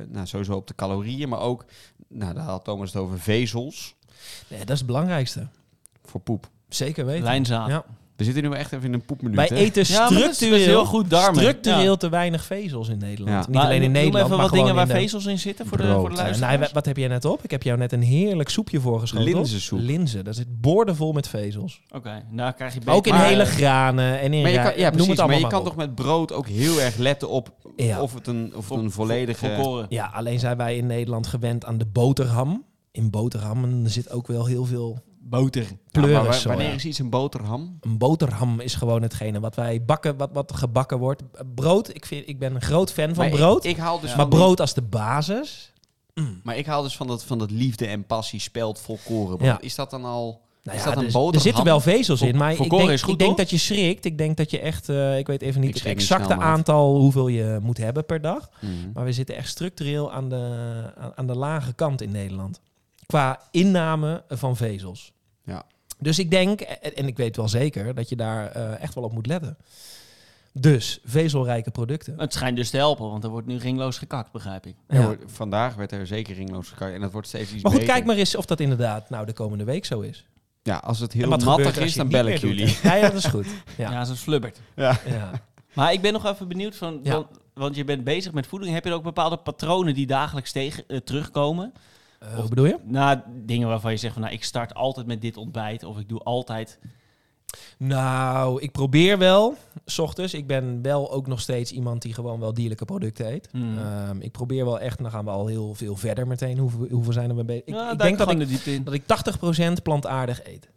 Speaker 3: nou sowieso op de calorieën, maar ook... Nou, daar had Thomas het over vezels
Speaker 1: Nee, dat is het belangrijkste.
Speaker 3: voor poep.
Speaker 1: Zeker weten.
Speaker 2: Lijnzaad.
Speaker 1: Ja.
Speaker 3: We zitten nu wel echt even in een poepmenu.
Speaker 1: Wij eten
Speaker 2: Ja, maar dat is- dat is
Speaker 1: structureel,
Speaker 2: heel goed darmen.
Speaker 1: structureel te weinig vezels in Nederland.
Speaker 3: Ja.
Speaker 1: Niet
Speaker 2: Maar
Speaker 1: alleen in
Speaker 2: eh, noem
Speaker 1: Nederland,
Speaker 2: even
Speaker 1: maar
Speaker 2: wat dingen
Speaker 1: gewoon
Speaker 2: waar
Speaker 1: in de-
Speaker 2: vezels in zitten voor de,
Speaker 3: Brood.
Speaker 2: voor de
Speaker 1: Eh,
Speaker 2: luisteraars.
Speaker 1: nou, wat heb jij net op? Ik heb jou net een heerlijk soepje voorgeschoten.
Speaker 3: Linzensoep.
Speaker 1: Linzen, daar zit boordevol met vezels.
Speaker 2: Oké, nou krijg je
Speaker 1: Maar
Speaker 2: beter.
Speaker 1: ook in
Speaker 3: Maar-
Speaker 1: hele granen en in
Speaker 3: Maar je
Speaker 1: ra-
Speaker 3: kan, ja,
Speaker 1: noem
Speaker 3: precies,
Speaker 1: het allemaal
Speaker 3: maar je
Speaker 1: maar
Speaker 3: kan
Speaker 1: op.
Speaker 3: toch met brood ook heel erg letten op
Speaker 1: Ja.
Speaker 3: of het een, of het
Speaker 2: Vol-
Speaker 3: een volledige...
Speaker 2: Ah, volkoren.
Speaker 1: Ja, alleen zijn wij in Nederland gewend aan de boterham. In boterhammen zit ook wel heel veel
Speaker 2: Boter.
Speaker 3: Ja, maar
Speaker 1: pleuris.
Speaker 3: wa-
Speaker 1: zo,
Speaker 3: wanneer
Speaker 1: ja.
Speaker 3: is iets een boterham?
Speaker 1: Een boterham is gewoon hetgene wat wij bakken, wat, wat gebakken wordt. Eh, Brood, ik, vind, ik ben een groot fan van
Speaker 3: Maar ik-
Speaker 1: brood.
Speaker 3: Ik, haal dus
Speaker 2: Ja.
Speaker 1: maar
Speaker 3: van die-
Speaker 1: brood als de basis.
Speaker 3: maar ik haal dus van dat, van dat liefde en passie spelt volkoren.
Speaker 1: Ja.
Speaker 3: Is dat dan al...
Speaker 1: Nou
Speaker 3: is
Speaker 1: ja,
Speaker 3: dat een
Speaker 1: dus-
Speaker 3: boterham?
Speaker 1: er zitten wel vezels in, maar ik
Speaker 2: volkoren
Speaker 1: denk,
Speaker 2: is goed,
Speaker 1: ik denk
Speaker 2: toch?
Speaker 1: dat je schrikt. Ik denk dat je echt, eh, ik weet even niet
Speaker 3: Ik
Speaker 1: het
Speaker 3: schrik niet
Speaker 1: exacte
Speaker 3: snel, maat.
Speaker 1: aantal hoeveel je moet hebben per dag.
Speaker 3: Mhm.
Speaker 1: Maar we zitten echt structureel aan de, aan, aan de lage kant in Nederland. Qua inname van vezels.
Speaker 3: Ja.
Speaker 1: Dus ik denk, en en ik weet wel zeker, dat je daar eh, echt wel op moet letten. Dus vezelrijke producten.
Speaker 2: Het schijnt dus te helpen, want er wordt nu ringloos gekakt, begrijp ik.
Speaker 3: Ja,
Speaker 1: Ja.
Speaker 3: hoor, vandaag werd er zeker ringloos gekart. En dat wordt steeds iets
Speaker 1: Maar goed,
Speaker 3: beter.
Speaker 1: kijk maar eens of dat inderdaad nou de komende week zo is.
Speaker 3: Ja, als het
Speaker 1: en
Speaker 3: heel
Speaker 1: wat gebeurt
Speaker 3: nattig
Speaker 1: er als
Speaker 3: is,
Speaker 1: je
Speaker 3: dan
Speaker 1: het niet
Speaker 3: bel ik
Speaker 1: meer doet,
Speaker 3: jullie.
Speaker 1: hè? Ja, ja, dat is goed. Ja.
Speaker 2: Ja, ze flubbert.
Speaker 1: Ja.
Speaker 2: Maar ik ben nog even benieuwd van,
Speaker 1: Ja.
Speaker 2: want, want je bent bezig met voeding. Heb je er ook bepaalde patronen die dagelijks tegen, eh, terugkomen?
Speaker 1: Eh, wat bedoel je?
Speaker 2: Na dingen waarvan je zegt van, nou, ik start altijd met dit ontbijt of ik doe altijd.
Speaker 1: Nou, ik probeer wel, s ochtends. Ik ben wel ook nog steeds iemand die gewoon wel dierlijke producten eet.
Speaker 2: Hmm.
Speaker 1: Ehm, ik probeer wel echt, dan gaan we al heel veel verder meteen. Hoeveel, hoeveel zijn er mee bezig? Ik,
Speaker 2: Ja,
Speaker 1: ik
Speaker 2: duik
Speaker 1: denk dat ik,
Speaker 2: Nou, gewoon de diepte in.
Speaker 1: dat ik 80% plantaardig eet.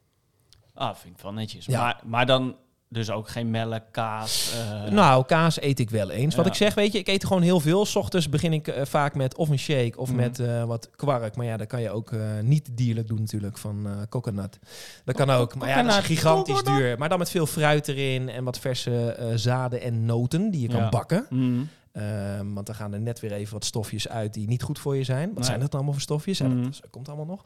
Speaker 2: Ah, vind ik wel netjes.
Speaker 1: Ja.
Speaker 2: Maar, maar dan dus ook geen melk, kaas. eh,
Speaker 1: nou, kaas eet ik wel eens. Wat
Speaker 2: ja.
Speaker 1: ik zeg, weet je, ik eet gewoon heel veel. S ochtends begin ik eh, vaak met of een shake of
Speaker 2: Mhm.
Speaker 1: met eh, wat kwark. Maar ja, dat kan je ook eh, niet dierlijk doen natuurlijk, van eh coconut. Dat kan ook. Maar ja, dat is
Speaker 2: Coconut.
Speaker 1: gigantisch
Speaker 2: Coconut.
Speaker 1: duur. Maar dan met veel fruit erin en wat verse eh, zaden en noten die je kan
Speaker 2: Ja.
Speaker 1: bakken.
Speaker 2: mm.
Speaker 1: Ehm, want dan gaan er net weer even wat stofjes uit die niet goed voor je zijn. Wat
Speaker 2: Nee.
Speaker 1: zijn dat dan allemaal voor stofjes? Ja, dat-
Speaker 2: Mhm.
Speaker 1: dat, komt allemaal nog.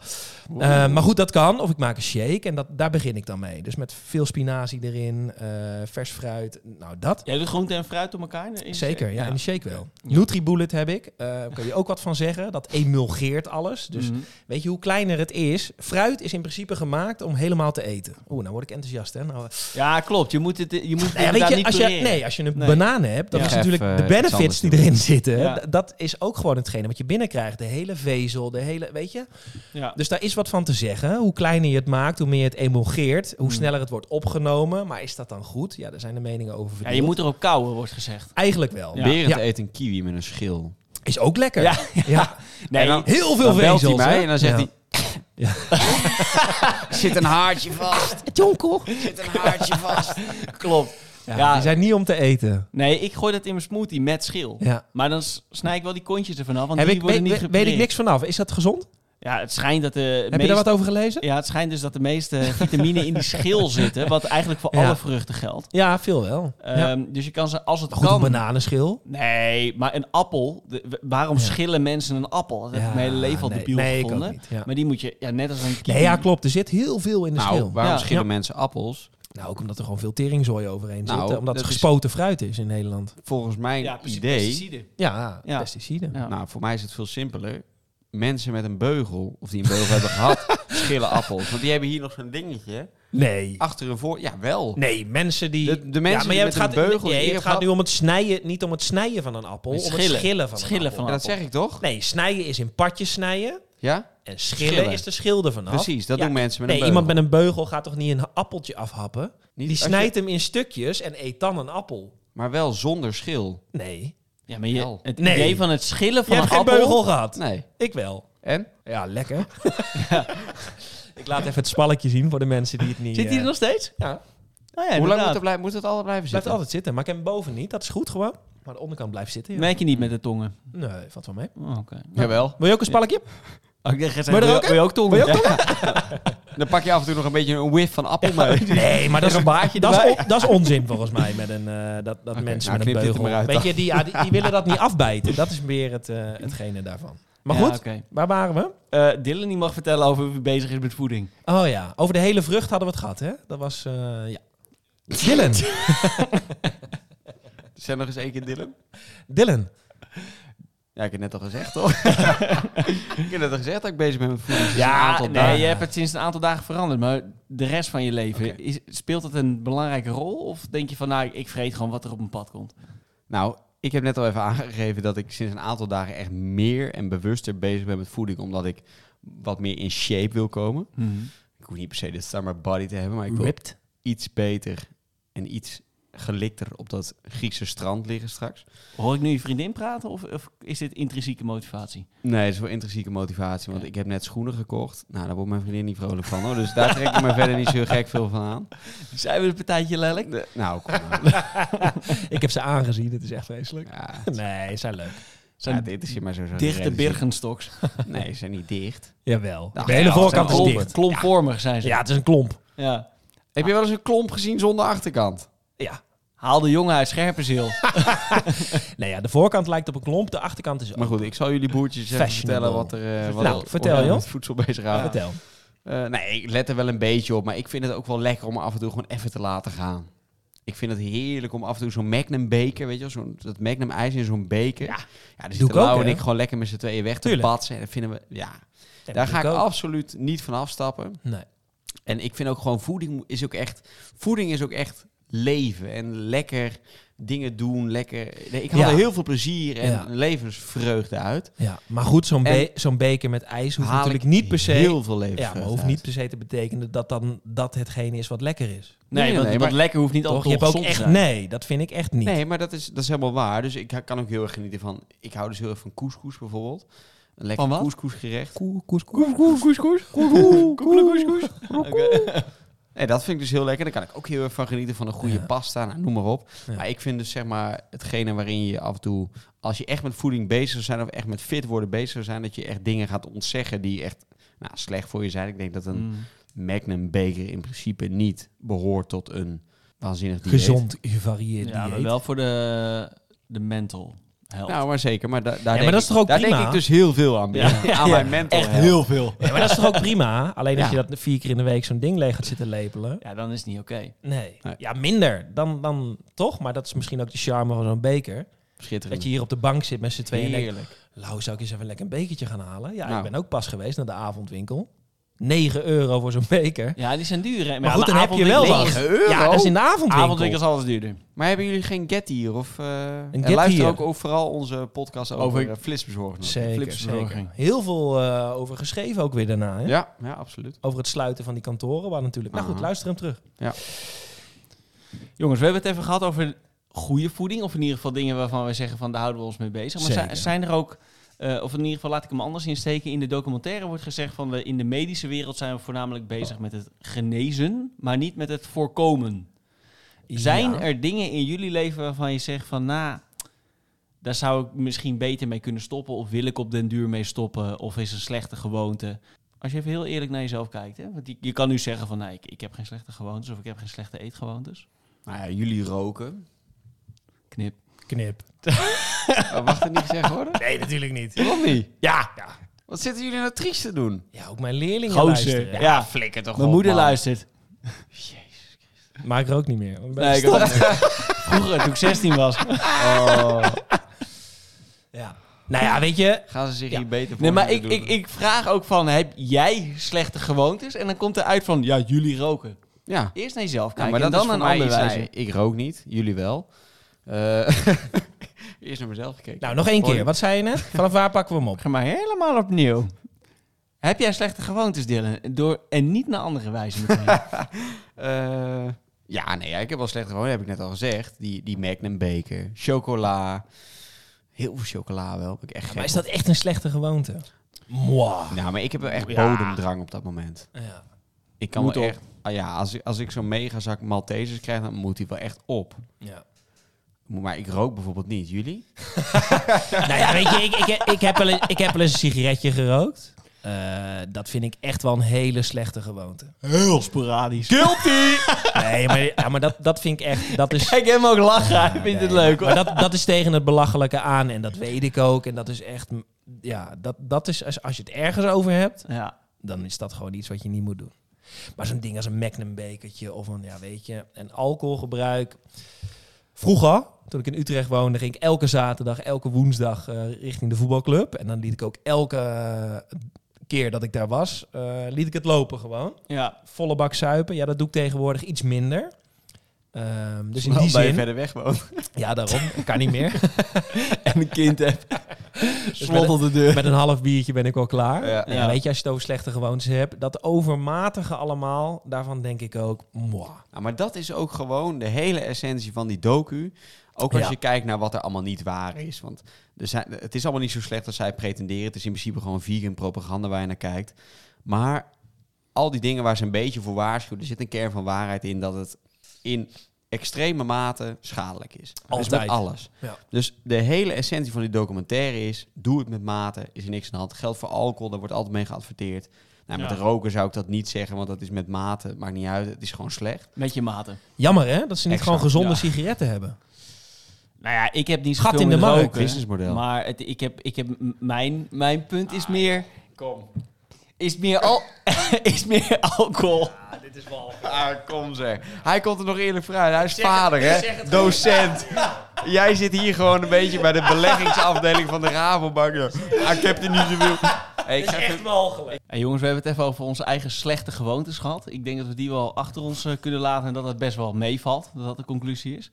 Speaker 1: Eh, maar goed, dat kan. Of ik maak een shake en dat, daar begin ik dan mee. Dus met veel spinazie erin, eh, vers fruit. Nou, dat.
Speaker 2: Jij doet groente en fruit door elkaar? in de- in de
Speaker 1: Zeker, ja,
Speaker 2: shake?
Speaker 1: in de shake wel.
Speaker 2: Ja.
Speaker 1: Nutribullet heb ik. Eh, Daar kun je ook wat van zeggen. Dat emulgeert alles. Dus
Speaker 2: Mhm.
Speaker 1: weet je hoe kleiner het is? Fruit is in principe gemaakt om helemaal te eten. Oeh, nou word ik enthousiast, hè? Nou,
Speaker 2: Ja, klopt. Je moet het, je moet het
Speaker 1: Nou ja,
Speaker 2: inderdaad
Speaker 1: weet je,
Speaker 2: niet
Speaker 1: als je,
Speaker 2: cureren.
Speaker 1: nee, als je een
Speaker 2: Nee.
Speaker 1: banaan hebt, dan
Speaker 2: Ja.
Speaker 1: is natuurlijk
Speaker 3: Even,
Speaker 1: de
Speaker 3: eh, iets
Speaker 1: benefits
Speaker 3: anders
Speaker 1: die
Speaker 3: doen.
Speaker 1: erin zitten.
Speaker 2: Ja.
Speaker 1: d- Dat is ook gewoon hetgene wat je binnenkrijgt. De hele vezel, de hele, weet je.
Speaker 2: Ja.
Speaker 1: Dus daar is wat van te zeggen. Hoe kleiner je het maakt, hoe meer je het emulgeert, hoe
Speaker 2: Hmm.
Speaker 1: sneller het wordt opgenomen. Maar is dat dan goed? Ja, daar zijn de meningen over
Speaker 2: ja,
Speaker 1: verdeeld.
Speaker 2: je moet erop kauwen, wordt gezegd.
Speaker 1: Eigenlijk wel.
Speaker 2: Ja.
Speaker 3: Berend
Speaker 1: Ja.
Speaker 3: eet een kiwi met een schil.
Speaker 1: Is ook lekker. Ja.
Speaker 2: Nee,
Speaker 3: En dan-
Speaker 1: Heel veel
Speaker 3: Dan belt hij
Speaker 1: vezels.
Speaker 3: mij
Speaker 1: hè?
Speaker 3: en dan zegt
Speaker 1: Ja.
Speaker 3: hij... Zit een haartje vast.
Speaker 1: Jonkel.
Speaker 3: Zit een haartje vast.
Speaker 2: klopt.
Speaker 1: Ja,
Speaker 2: Ja.
Speaker 1: Die zijn niet om te eten.
Speaker 2: Nee, ik gooi dat in mijn smoothie met schil.
Speaker 1: Ja.
Speaker 2: Maar dan s- snij ik wel die kontjes ervan af, want
Speaker 1: Heb
Speaker 2: die
Speaker 1: ik,
Speaker 2: worden
Speaker 1: weet,
Speaker 2: niet
Speaker 1: weet-
Speaker 2: gecureerd.
Speaker 1: weet ik niks vanaf. Is dat gezond?
Speaker 2: Ja, het schijnt dat de
Speaker 1: Heb je
Speaker 2: meeste-
Speaker 1: daar wat over gelezen?
Speaker 2: Ja, het schijnt dus dat de meeste vitamine in die schil zitten, wat eigenlijk voor
Speaker 1: Ja.
Speaker 2: alle vruchten geldt.
Speaker 1: Ja, veel wel. ja.
Speaker 2: Ehm, Dus je kan ze, als het
Speaker 1: Goed, een
Speaker 2: kan...
Speaker 1: bananenschil.
Speaker 2: Nee, maar een appel. de- w- waarom
Speaker 1: Ja.
Speaker 2: schillen mensen een appel? Dat heb
Speaker 1: Ja,
Speaker 2: ik mijn hele leven al
Speaker 1: nee,
Speaker 2: debiel
Speaker 1: nee, ik ook
Speaker 2: gevonden.
Speaker 1: niet, ja.
Speaker 2: Maar die moet je, ja, net als een kiwi.
Speaker 1: Nee, ja, klopt. Er zit heel veel in de schil.
Speaker 3: Nou, waarom
Speaker 2: Ja.
Speaker 3: schillen mensen appels?
Speaker 1: Nou, ook omdat er gewoon veel teringzooi overheen
Speaker 3: Nou,
Speaker 1: zit. hè, Omdat het
Speaker 3: dat is-
Speaker 1: gespoten fruit is in Nederland.
Speaker 3: Volgens mijn
Speaker 2: Ja, precies,
Speaker 3: idee...
Speaker 2: pesticiden.
Speaker 1: Ja,
Speaker 2: Ja.
Speaker 1: pesticiden.
Speaker 2: Ja.
Speaker 3: Nou, voor mij is het veel simpeler. Mensen met een beugel, of die een beugel hebben gehad, schillen appels. Want die hebben hier nog zo'n dingetje.
Speaker 1: Nee.
Speaker 3: Achter en voor, ja wel.
Speaker 1: Nee, mensen die...
Speaker 3: De- de mensen
Speaker 1: maar
Speaker 3: die
Speaker 1: ja,
Speaker 3: met een beugel
Speaker 1: nee,
Speaker 3: hier
Speaker 1: het gaat
Speaker 3: gehad-
Speaker 1: nu om het snijden, niet om het snijden van een appel.
Speaker 2: Nee,
Speaker 1: om
Speaker 2: schillen.
Speaker 1: het schillen van
Speaker 2: Schillen
Speaker 1: een appel.
Speaker 3: Ja, dat zeg ik toch?
Speaker 1: Nee, snijden is in partjes snijden.
Speaker 3: Ja?
Speaker 1: En schillen,
Speaker 3: Schillen.
Speaker 1: is de schilder vanaf.
Speaker 3: Precies, dat
Speaker 1: Ja.
Speaker 3: doen mensen met
Speaker 1: Nee,
Speaker 3: een beugel.
Speaker 1: iemand met een beugel gaat toch niet een appeltje afhappen? die
Speaker 3: Niet als je-
Speaker 1: snijdt hem in stukjes en eet dan een appel.
Speaker 3: Maar wel zonder schil.
Speaker 1: Nee.
Speaker 2: Ja, maar je,
Speaker 3: Hel.
Speaker 2: het
Speaker 1: Nee.
Speaker 2: idee van het schillen
Speaker 1: Je
Speaker 2: van
Speaker 1: hebt
Speaker 2: een
Speaker 1: geen
Speaker 2: appel...
Speaker 1: beugel gehad.
Speaker 3: Nee.
Speaker 1: Ik wel.
Speaker 3: En?
Speaker 1: Ja, lekker. Ik laat even het spalletje zien voor de mensen die het niet...
Speaker 2: Zit die er nog steeds?
Speaker 1: eh, Ja,
Speaker 2: Oh ja,
Speaker 3: Hoe lang moet
Speaker 2: inderdaad.
Speaker 3: het, blij- moet het altijd blijven
Speaker 1: blijft
Speaker 3: zitten?
Speaker 1: altijd zitten. Maar ik heb hem boven niet. Dat is goed gewoon. Maar de onderkant blijft zitten. Ja.
Speaker 2: Merk je niet met de tongen.
Speaker 1: Nee, valt wel mee.
Speaker 2: Oh, Oké.
Speaker 3: Jawel.
Speaker 1: Wil je ook een spalletje?
Speaker 2: Oh, ik dacht, je zei,
Speaker 1: Maar er
Speaker 2: wil,
Speaker 1: ook
Speaker 2: je- wil je ook tongen?
Speaker 1: Wil je
Speaker 2: Ja.
Speaker 3: Dan pak je af en toe nog een beetje een whiff van appel mee.
Speaker 1: Nee, maar dat is,
Speaker 3: Een baardje
Speaker 1: dat, is
Speaker 3: erbij.
Speaker 1: on- dat is onzin volgens mij met een, eh, dat, dat
Speaker 3: Oké,
Speaker 1: mensen
Speaker 3: nou,
Speaker 1: met een
Speaker 3: knip dit er
Speaker 1: beugel.
Speaker 3: maar uit
Speaker 1: Weet
Speaker 3: dan.
Speaker 1: je, die, ja, die, die willen dat niet afbijten. Dat is meer het, eh, hetgene daarvan. Maar
Speaker 2: Ja,
Speaker 1: goed,
Speaker 2: oké.
Speaker 1: waar waren we?
Speaker 2: Eh, Dylan die mag vertellen over hoe hij bezig is met voeding.
Speaker 1: Oh ja, over de hele vrucht hadden we het gehad, hè? Dat was, eh, ja. Dylan,
Speaker 3: Zijn nog eens één keer Dylan?
Speaker 1: Dylan.
Speaker 3: Ja, ik heb net al gezegd, toch? ik heb net al gezegd dat ik bezig ben met voeding. sinds een
Speaker 2: Ja,
Speaker 3: aantal
Speaker 2: nee,
Speaker 3: dagen.
Speaker 2: je hebt het sinds Dus een aantal dagen veranderd. Maar de rest van je leven,
Speaker 3: Oké.
Speaker 2: is, speelt dat een belangrijke rol? Of denk je van, nou, ik vreet gewoon wat er op mijn pad komt?
Speaker 3: Nou, ik heb net al even aangegeven dat ik sinds een aantal dagen echt meer en bewuster bezig ben met voeding. Omdat ik wat meer in shape wil komen.
Speaker 2: Mhm.
Speaker 3: Ik hoef niet per se de summer body te hebben, maar ik wil
Speaker 1: Ripped.
Speaker 3: iets beter en iets gelikter op dat Griekse strand liggen straks.
Speaker 2: Hoor ik nu je vriendin praten of, of is dit intrinsieke motivatie?
Speaker 3: Nee, dat is wel intrinsieke motivatie, want
Speaker 2: Ja.
Speaker 3: ik heb net schoenen gekocht. Nou, daar wordt mijn vriendin niet vrolijk van, hoor. Dus daar trek ik me verder niet zo gek veel van aan.
Speaker 2: Zijn we een partijtje lelijk?
Speaker 3: De- nou, kom nou.
Speaker 1: Ik heb ze aangezien, het is echt vreselijk.
Speaker 3: Ja,
Speaker 1: Nee, ze zijn leuk.
Speaker 3: zijn
Speaker 2: Zijn
Speaker 3: ja, dit is hier maar zo. zo
Speaker 2: dichte
Speaker 3: birgen.
Speaker 2: Birgenstoks.
Speaker 3: Nee, ze zijn niet dicht.
Speaker 1: Jawel.
Speaker 3: Nou,
Speaker 1: de hele
Speaker 3: ja,
Speaker 1: voorkant
Speaker 3: dat
Speaker 1: is
Speaker 3: zijn
Speaker 1: dicht.
Speaker 2: Klomp, klompvormig zijn ze.
Speaker 1: Ja,
Speaker 2: Ja.
Speaker 1: het is een klomp.
Speaker 3: Heb je wel eens een klomp gezien zonder achterkant?
Speaker 1: Ja.
Speaker 2: Haal de jongen uit Scherpenzeel.
Speaker 1: Nee, ja, de voorkant lijkt op een klomp, de achterkant is ook.
Speaker 3: Maar goed, ik zal jullie boertjes even
Speaker 1: Fashionable.
Speaker 3: vertellen wat er... eh, wat
Speaker 1: Nou,
Speaker 3: er-
Speaker 1: vertel,
Speaker 3: wat er
Speaker 1: joh.
Speaker 3: met voedsel bezig
Speaker 1: Ja,
Speaker 3: houdt.
Speaker 1: Vertel.
Speaker 3: Eh, nee, ik let er wel een beetje op. Maar ik vind het ook wel lekker om af en toe gewoon even te laten gaan. Ik vind het heerlijk om af en toe zo'n Magnum beker, weet je wel, zo'n, dat Magnum ijs in zo'n beker. Ja, daar
Speaker 1: Doe
Speaker 3: zitten
Speaker 1: ik ook,
Speaker 3: Lau en
Speaker 1: hè?
Speaker 3: ik gewoon lekker met z'n tweeën weg te
Speaker 1: Tuurlijk.
Speaker 3: patsen. En dat vinden we, ja,
Speaker 1: Ja,
Speaker 3: daar
Speaker 1: dat
Speaker 3: ga ik
Speaker 1: doe ook.
Speaker 3: absoluut niet van afstappen.
Speaker 1: Nee.
Speaker 3: En ik vind ook gewoon voeding is ook echt. Voeding is ook echt leven. En lekker dingen doen. Lekker. Nee, ik haal
Speaker 1: Ja.
Speaker 3: er heel veel plezier en
Speaker 1: Ja.
Speaker 3: levensvreugde uit.
Speaker 1: Ja, maar goed, zo'n,
Speaker 3: En-
Speaker 1: be- zo'n beker met ijs hoeft
Speaker 3: Haal
Speaker 1: natuurlijk
Speaker 3: ik
Speaker 1: niet per se...
Speaker 3: Heel veel
Speaker 1: ja,
Speaker 3: levensvreugde.
Speaker 1: maar hoeft niet per se te betekenen dat dan dat hetgene is wat lekker is.
Speaker 2: Nee,
Speaker 3: Nee,
Speaker 2: want,
Speaker 3: nee,
Speaker 2: want
Speaker 3: maar-
Speaker 2: lekker hoeft niet
Speaker 1: Toch?
Speaker 2: altijd
Speaker 1: Je hebt ook
Speaker 2: gezond te
Speaker 1: echt...
Speaker 2: zijn.
Speaker 1: Nee, dat vind ik echt niet.
Speaker 3: uit. Nee, maar dat is, dat is helemaal waar. Dus ik ha- kan ook heel erg genieten van. Ik hou dus heel erg van couscous bijvoorbeeld. Een lekker
Speaker 2: Van wat?
Speaker 3: couscousgerecht.
Speaker 1: Koe, koes, koe.
Speaker 3: Nee, dat vind ik dus heel lekker. Daar kan ik ook heel erg van genieten van een goede
Speaker 1: Ja.
Speaker 3: pasta. Nou, noem maar op.
Speaker 1: Ja.
Speaker 3: Maar ik vind dus zeg maar hetgene waarin je af en toe, als je echt met voeding bezig zou zijn of echt met fit worden bezig zou zijn, dat je echt dingen gaat ontzeggen die echt nou, slecht voor je zijn. Ik denk dat een
Speaker 2: Mm.
Speaker 3: Magnum beker in principe niet behoort tot een waanzinnig dieet.
Speaker 1: Gezond, gevarieerd
Speaker 2: Ja, maar
Speaker 1: dieet.
Speaker 2: wel voor de, de mental. helpt.
Speaker 3: Nou, maar zeker. Maar, da- daar denk
Speaker 1: maar dat is
Speaker 3: ik-
Speaker 1: toch ook
Speaker 3: daar
Speaker 1: prima?
Speaker 3: denk ik dus heel veel aan.
Speaker 2: Ja.
Speaker 3: Björn. Aan mijn mental
Speaker 2: Echt
Speaker 3: health.
Speaker 2: heel veel.
Speaker 1: Ja, maar dat is toch ook prima? Alleen als
Speaker 3: Ja.
Speaker 1: je dat vier keer in de week zo'n ding leeg gaat zitten lepelen.
Speaker 2: Ja, dan is het niet oké.
Speaker 1: Nee.
Speaker 3: Nee.
Speaker 1: Ja, minder dan, dan toch. Maar dat is misschien ook de charme van zo'n beker.
Speaker 3: Schitterend.
Speaker 1: Dat je hier op de bank zit met z'n tweeën en denkt...
Speaker 3: Heerlijk.
Speaker 1: Lau, zou ik eens even lekker een bekertje gaan halen? Ja,
Speaker 3: Nou.
Speaker 1: ik ben ook pas geweest naar de avondwinkel. 9 euro voor zo'n beker.
Speaker 2: Ja, die zijn duur. hè. Maar,
Speaker 1: Maar
Speaker 2: ja,
Speaker 1: goed,
Speaker 2: de
Speaker 1: dan heb je wel
Speaker 2: avondwinkel-
Speaker 1: wat.
Speaker 3: 9 euro?
Speaker 1: Ja, dat is in de avondwinkel.
Speaker 2: Avondwinkel is alles duurder.
Speaker 3: Maar hebben jullie geen get hier? Of, eh, en
Speaker 1: Get
Speaker 3: luister
Speaker 1: Here.
Speaker 3: ook over- vooral onze podcast over,
Speaker 2: Over-
Speaker 3: eh, flitsbezorging.
Speaker 1: Zeker,
Speaker 2: Flipsbezorging.
Speaker 1: zeker. Heel veel eh, over geschreven ook weer daarna. Hè?
Speaker 3: Ja, ja, absoluut.
Speaker 1: Over het sluiten van die kantoren. Waar natuurlijk... Nou goed,
Speaker 3: Aha.
Speaker 1: luister hem terug.
Speaker 2: Jongens, we hebben het even gehad over goede voeding. Of in ieder geval dingen waarvan we zeggen van daar houden we ons mee bezig. Maar zi-
Speaker 1: Zeker.
Speaker 2: zijn er ook, eh, of in ieder geval laat ik hem anders insteken. In de documentaire wordt gezegd van we in de medische wereld zijn we voornamelijk bezig met het genezen. Maar niet met het voorkomen. Zijn
Speaker 1: Ja.
Speaker 2: er dingen in jullie leven waarvan je zegt van nou, daar zou ik misschien beter mee kunnen stoppen. Of wil ik op den duur mee stoppen. Of is een slechte gewoonte. Als je even heel eerlijk naar jezelf kijkt. Hè? Want je, je kan nu zeggen van nee, ik, ik heb geen slechte gewoontes. Of ik heb geen slechte eetgewoontes.
Speaker 3: Nou ja, jullie roken.
Speaker 2: Knip.
Speaker 1: Knip.
Speaker 3: Oh, mag dat niet gezegd worden?
Speaker 1: Nee, natuurlijk niet.
Speaker 3: Waarom niet?
Speaker 1: Ja. Ja,
Speaker 3: Wat zitten jullie nou triest te doen?
Speaker 1: ja ook mijn leerlingen
Speaker 2: Gozer.
Speaker 1: luisteren.
Speaker 2: Ja,
Speaker 3: flikker toch
Speaker 2: Mijn moeder luistert.
Speaker 1: Maar ik rook niet meer. Dan ben ik
Speaker 2: Nee, ik
Speaker 1: gestopt.
Speaker 2: Vroeger, toen ik 16 was. Oh,
Speaker 1: Ja. Nou ja, weet je.
Speaker 3: Gaan ze zich
Speaker 1: Ja.
Speaker 3: hier beter voor
Speaker 2: Nee, maar ik,
Speaker 3: moeten
Speaker 2: ik,
Speaker 3: doen?
Speaker 2: ik vraag ook van, heb jij slechte gewoontes? En dan komt er uit van, ja, jullie roken.
Speaker 3: Ja.
Speaker 2: Eerst naar jezelf
Speaker 3: Ja,
Speaker 2: kijken
Speaker 3: maar
Speaker 2: en
Speaker 3: dat
Speaker 2: dan
Speaker 3: is voor
Speaker 2: een
Speaker 3: mij
Speaker 2: ander
Speaker 3: iets.
Speaker 2: wijzen.
Speaker 3: nee, ik rook niet, jullie wel. Eh, Eerst naar mezelf gekeken.
Speaker 1: Nou, nog één keer.
Speaker 3: Hoi.
Speaker 1: Wat zei je net? Vanaf waar pakken we hem op?
Speaker 2: Ga maar helemaal opnieuw. Heb jij slechte gewoontes, Dylan? Door, en niet naar andere wijzen meteen.
Speaker 3: Eh, ja, nee, ja, ik heb wel slecht gewonnen, heb ik net al gezegd. Die, die Magnum beker, chocola. Heel veel chocola wel. heb Ik echt
Speaker 1: Maar
Speaker 3: gek
Speaker 1: is dat echt een slechte gewoonte? Mwah.
Speaker 3: op. Nou, maar ik heb wel echt
Speaker 1: Ja.
Speaker 3: bodemdrang op dat moment.
Speaker 1: Ja.
Speaker 3: Ik kan
Speaker 2: Moet
Speaker 3: wel
Speaker 2: op.
Speaker 3: echt... Ah, ja, als, ik- als ik zo'n megazak Maltesers krijg, dan moet die wel echt op.
Speaker 1: Ja.
Speaker 3: Maar ik rook bijvoorbeeld niet. Jullie?
Speaker 1: nou ja, weet je, ik, ik, ik, heb wel eens, ik heb wel eens een sigaretje gerookt. Eh, dat vind ik echt wel een hele slechte gewoonte.
Speaker 2: Heel sporadisch.
Speaker 1: Nee, maar, ja, maar dat, dat vind ik echt... Dat is,
Speaker 2: Kijk hem ook lachen, hij vindt het
Speaker 1: Nee,
Speaker 2: leuk hoor.
Speaker 1: Maar dat, dat is tegen het belachelijke aan en dat weet ik ook. En dat is echt... Ja, dat, dat is, als, als je het ergens over hebt,
Speaker 2: Ja.
Speaker 1: dan is dat gewoon iets wat je niet moet doen. Maar zo'n ding als een Magnum bekertje of een, ja weet je, een alcoholgebruik. Vroeger, toen ik in Utrecht woonde, ging ik elke zaterdag, elke woensdag eh, richting de voetbalclub. En dan liet ik ook elke eh, keer dat ik daar was, eh, liet ik het lopen gewoon.
Speaker 2: ja.
Speaker 1: Volle bak zuipen, ja dat doe ik tegenwoordig iets minder. Ehm, dus in
Speaker 3: Wel
Speaker 1: die
Speaker 3: bij je
Speaker 1: zin,
Speaker 3: verder weg woont.
Speaker 1: ja daarom, kan niet meer. Dus
Speaker 2: En een kind heb. Slot op de deur.
Speaker 1: Met een half biertje ben ik al klaar.
Speaker 3: Ja.
Speaker 1: Nou ja,
Speaker 2: Ja.
Speaker 1: Weet je, als je het over slechte gewoontes hebt, dat overmatige allemaal, daarvan denk ik ook, mwah.
Speaker 3: Nou, maar dat is ook gewoon de hele essentie van die docu. Ook als
Speaker 1: Ja.
Speaker 3: je kijkt naar wat er allemaal niet waar is. Want er zijn, het is allemaal niet zo slecht als zij pretenderen. Het is in principe gewoon vegan propaganda waar je naar kijkt. Maar al die dingen waar ze een beetje voor waarschuwen... er zit een kern van waarheid in dat het in extreme mate schadelijk is. Dus
Speaker 1: Altijd.
Speaker 3: met alles.
Speaker 1: Ja.
Speaker 3: Dus de hele essentie van die documentaire is... doe het met mate, is er niks aan de hand. Geldt voor alcohol, daar wordt altijd mee geadverteerd. Nou, met
Speaker 2: Ja.
Speaker 3: roken zou ik dat niet zeggen, want dat is met mate. Maakt niet uit, het is gewoon slecht.
Speaker 2: Met je maten.
Speaker 1: Jammer hè, dat ze niet
Speaker 3: Exact,
Speaker 1: gewoon gezonde
Speaker 2: ja.
Speaker 1: sigaretten hebben.
Speaker 2: Nou ja, ik heb niet
Speaker 1: Gat
Speaker 2: zoveel
Speaker 1: in de
Speaker 2: met
Speaker 1: markt.
Speaker 2: roken.
Speaker 3: Businessmodel.
Speaker 2: Maar het, ik heb, ik heb m- mijn, mijn punt is meer. Kom. Is meer, al, is meer alcohol.
Speaker 1: dit is wel.
Speaker 3: Ah, kom zeg. Hij komt er nog eerlijk vooruit. Hij is
Speaker 1: het-
Speaker 3: vader,
Speaker 1: ik
Speaker 3: hè?
Speaker 1: zeg het
Speaker 3: Docent. Jij zit hier gewoon een beetje bij de beleggingsafdeling van de Rabobank. joh. Ah, ik heb er niet zoveel. Hey, ik ga even-
Speaker 1: walgelijk.
Speaker 2: Hey jongens, we hebben het even over onze eigen slechte gewoontes gehad. Ik denk dat we die wel achter ons eh, kunnen laten en dat het best wel meevalt. Dat dat de conclusie is.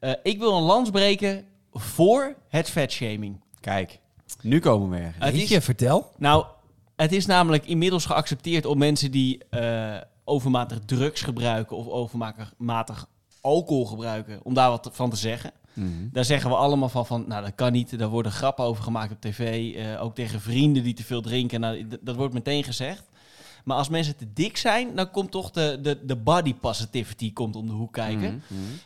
Speaker 2: Eh, ik wil een lans breken voor het vetshaming.
Speaker 3: Kijk, nu komen we ergens.
Speaker 2: Het is-
Speaker 1: Weet je, vertel.
Speaker 2: Nou, het is namelijk inmiddels geaccepteerd om mensen die eh, overmatig drugs gebruiken of overmatig alcohol gebruiken, om daar wat van te zeggen. Daar zeggen we allemaal van, van, nou dat kan niet, daar worden grappen over gemaakt op tv, eh, ook tegen vrienden die te veel drinken, nou, d- dat wordt meteen gezegd. Maar als mensen te dik zijn, dan komt toch de, de, de body positivity komt om de hoek
Speaker 3: Mhm.
Speaker 2: kijken.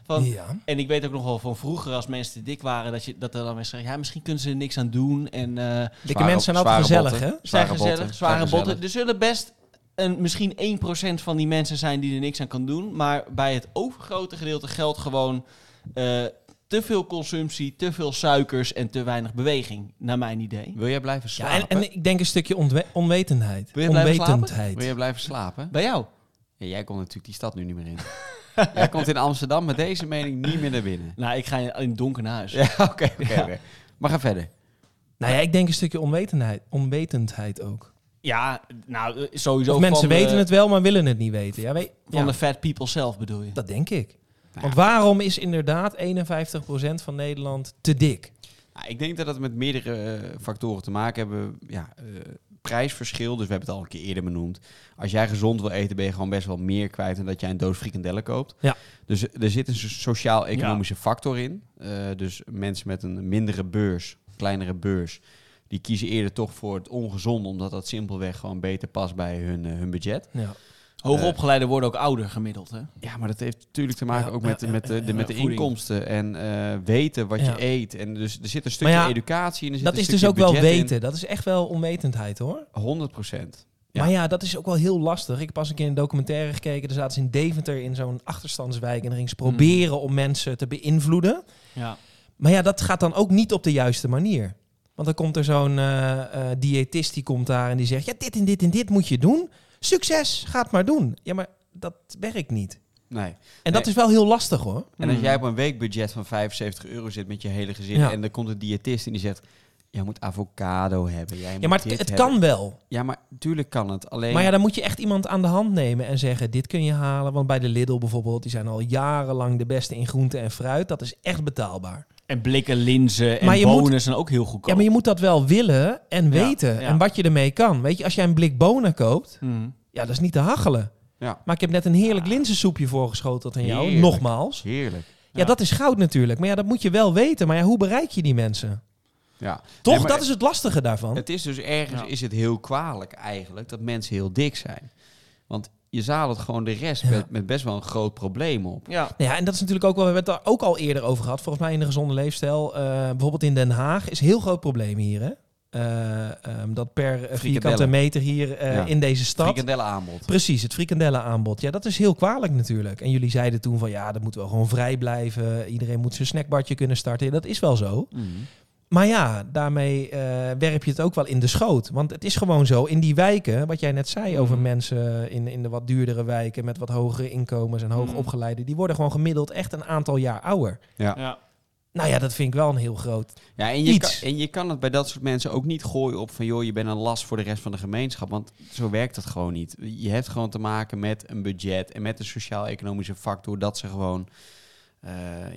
Speaker 2: Van,
Speaker 1: Ja.
Speaker 2: en ik weet ook nog wel van vroeger, als mensen te dik waren, dat, je, dat er dan mensen zeggen, ja, misschien kunnen ze er niks aan doen. En eh,
Speaker 1: Dikke mensen zijn altijd gezellig hè.
Speaker 2: zijn gezellig, zware botten. Er zullen best een, misschien 1% van die mensen zijn die er niks aan kan doen. Maar bij het overgrote gedeelte geldt gewoon... eh, te veel consumptie, te veel suikers en te weinig beweging, naar mijn idee.
Speaker 3: Wil jij blijven
Speaker 1: Ja,
Speaker 3: slapen?
Speaker 1: en, en ik denk een stukje onwe- onwetendheid.
Speaker 2: Wil je blijven slapen?
Speaker 1: Onwetendheid.
Speaker 3: Wil jij blijven slapen?
Speaker 2: Bij jou?
Speaker 3: Ja, jij komt natuurlijk die stad nu niet meer in. jij komt in Amsterdam met deze mening niet meer naar binnen.
Speaker 2: Nou, ik ga in in het donker naar huis.
Speaker 3: Ja, oké. oké,
Speaker 2: Ja.
Speaker 3: oké. Maar ga verder.
Speaker 1: Nou ja, ik denk een stukje onwetendheid, onwetendheid ook.
Speaker 2: Ja, nou, eh, sowieso
Speaker 1: Of mensen
Speaker 2: van de,
Speaker 1: weten het wel, maar willen het niet weten. Ja, weet,
Speaker 2: Van
Speaker 1: ja,
Speaker 2: de fat people zelf bedoel je?
Speaker 1: dat denk ik. Want waarom is inderdaad 51% van Nederland te dik?
Speaker 3: Nou, ik denk dat dat met meerdere eh, factoren te maken hebben. Ja, eh, prijsverschil, dus we hebben het al een keer eerder benoemd. Als jij gezond wil eten, ben je gewoon best wel meer kwijt dan dat jij een doos frikandellen koopt.
Speaker 1: Ja.
Speaker 3: Dus eh, er zit een so- sociaal-economische factor in. Eh, dus mensen met een mindere beurs, kleinere beurs, die kiezen eerder toch voor het ongezonde, omdat dat simpelweg gewoon beter past bij hun, eh, hun budget.
Speaker 1: Ja.
Speaker 3: eh.
Speaker 2: Hoogopgeleiden worden ook ouder gemiddeld, hè?
Speaker 3: Ja, maar dat heeft natuurlijk te maken
Speaker 1: Ja,
Speaker 3: ook
Speaker 1: ja,
Speaker 3: met,
Speaker 1: ja,
Speaker 3: met, de,
Speaker 1: ja,
Speaker 3: de-
Speaker 1: ja.
Speaker 3: met de
Speaker 2: Voeding.
Speaker 3: inkomsten en eh, weten wat
Speaker 1: Ja.
Speaker 3: je eet. En dus er zit een stukje
Speaker 1: ja,
Speaker 3: educatie in. Er zit
Speaker 1: Dat
Speaker 3: een
Speaker 1: is dus ook wel
Speaker 3: stukje budget in.
Speaker 1: weten. Dat is echt wel onwetendheid hoor.
Speaker 3: 100 procent. Ja.
Speaker 1: Maar ja, dat is ook wel heel lastig. Ik heb pas een keer een documentaire gekeken. Daar zaten ze in Deventer in zo'n achterstandswijk. En er ging
Speaker 3: Hmm.
Speaker 1: ze proberen om mensen te beïnvloeden.
Speaker 2: Ja.
Speaker 1: Maar ja, dat gaat dan ook niet op de juiste manier. Want dan komt er zo'n eh, eh, diëtist die komt daar en die zegt... Ja, dit en dit en dit moet je doen. Succes, ga het maar doen. Ja, maar dat werkt niet.
Speaker 3: Nee.
Speaker 1: En dat
Speaker 3: Nee.
Speaker 1: is wel heel lastig hoor.
Speaker 3: En als jij op een weekbudget van 75 euro zit met je hele gezin...
Speaker 1: Hmm. Ja.
Speaker 3: en dan komt een diëtist en die zegt... Jij moet avocado hebben. Jij
Speaker 1: Ja,
Speaker 3: moet
Speaker 1: maar
Speaker 3: dit
Speaker 1: het, het
Speaker 3: hebben."
Speaker 1: kan wel.
Speaker 3: Ja, maar tuurlijk kan het. Alleen...
Speaker 1: Maar ja, dan moet je echt iemand aan de hand nemen en zeggen: dit kun je halen. Want bij de Lidl bijvoorbeeld, die zijn al jarenlang de beste in groente en fruit. Dat is echt betaalbaar.
Speaker 2: En blikken linzen en
Speaker 1: Maar je
Speaker 2: bonen
Speaker 1: moet-
Speaker 2: zijn ook heel goedkoop.
Speaker 1: Ja, maar je moet dat wel willen en weten.
Speaker 2: ja.
Speaker 1: En wat je ermee kan. Weet je, als jij een blik bonen koopt,
Speaker 2: Mhm.
Speaker 1: ja, dat is niet te hachelen.
Speaker 3: Ja.
Speaker 1: Maar ik heb net een heerlijk linzensoepje voorgeschoteld aan jou.
Speaker 3: Heerlijk.
Speaker 1: Nogmaals.
Speaker 3: Heerlijk.
Speaker 1: Ja, dat is goud natuurlijk. Maar ja, dat moet je wel weten. Maar ja, hoe bereik je die mensen?
Speaker 3: Ja.
Speaker 1: Toch?
Speaker 3: Nee, maar
Speaker 1: dat is het lastige daarvan.
Speaker 3: Het is dus ergens
Speaker 2: Ja.
Speaker 3: is het heel kwalijk eigenlijk dat mensen heel dik zijn. Want je zadelt gewoon de rest
Speaker 1: Ja.
Speaker 3: met, met best wel een groot probleem op.
Speaker 2: Ja.
Speaker 1: Nou ja, en dat is natuurlijk ook wel, we hebben het daar ook al eerder over gehad. Volgens mij in de gezonde leefstijl, eh, bijvoorbeeld in Den Haag, is een heel groot probleem hier. Hè? Eh, ehm, dat per eh, vierkante
Speaker 3: Frikandellen.
Speaker 1: meter hier eh,
Speaker 3: Ja.
Speaker 1: in deze stad.
Speaker 3: Frikandellen aanbod.
Speaker 1: Precies, het frikandellenaanbod. Ja, dat is heel kwalijk natuurlijk. En jullie zeiden toen van ja, dat moet wel gewoon vrij blijven. Iedereen moet zijn snackbartje kunnen starten. Ja, dat is wel zo.
Speaker 3: Mm.
Speaker 1: Maar ja, daarmee eh, werp je het ook wel in de schoot. Want het is gewoon zo, in die wijken, wat jij net zei over
Speaker 2: Mhm.
Speaker 1: mensen in, in de wat duurdere wijken met wat hogere inkomens en hoogopgeleiden, die worden gewoon gemiddeld echt een aantal jaar ouder.
Speaker 3: Ja.
Speaker 2: Ja.
Speaker 1: Nou ja, dat vind ik wel een heel groot.
Speaker 3: Ja, en je, kan,
Speaker 1: Iets.
Speaker 3: en je kan het bij dat soort mensen ook niet gooien op van joh, je bent een last voor de rest van de gemeenschap. Want zo werkt dat gewoon niet. Je hebt gewoon te maken met een budget en met een sociaal-economische factor dat ze gewoon eh,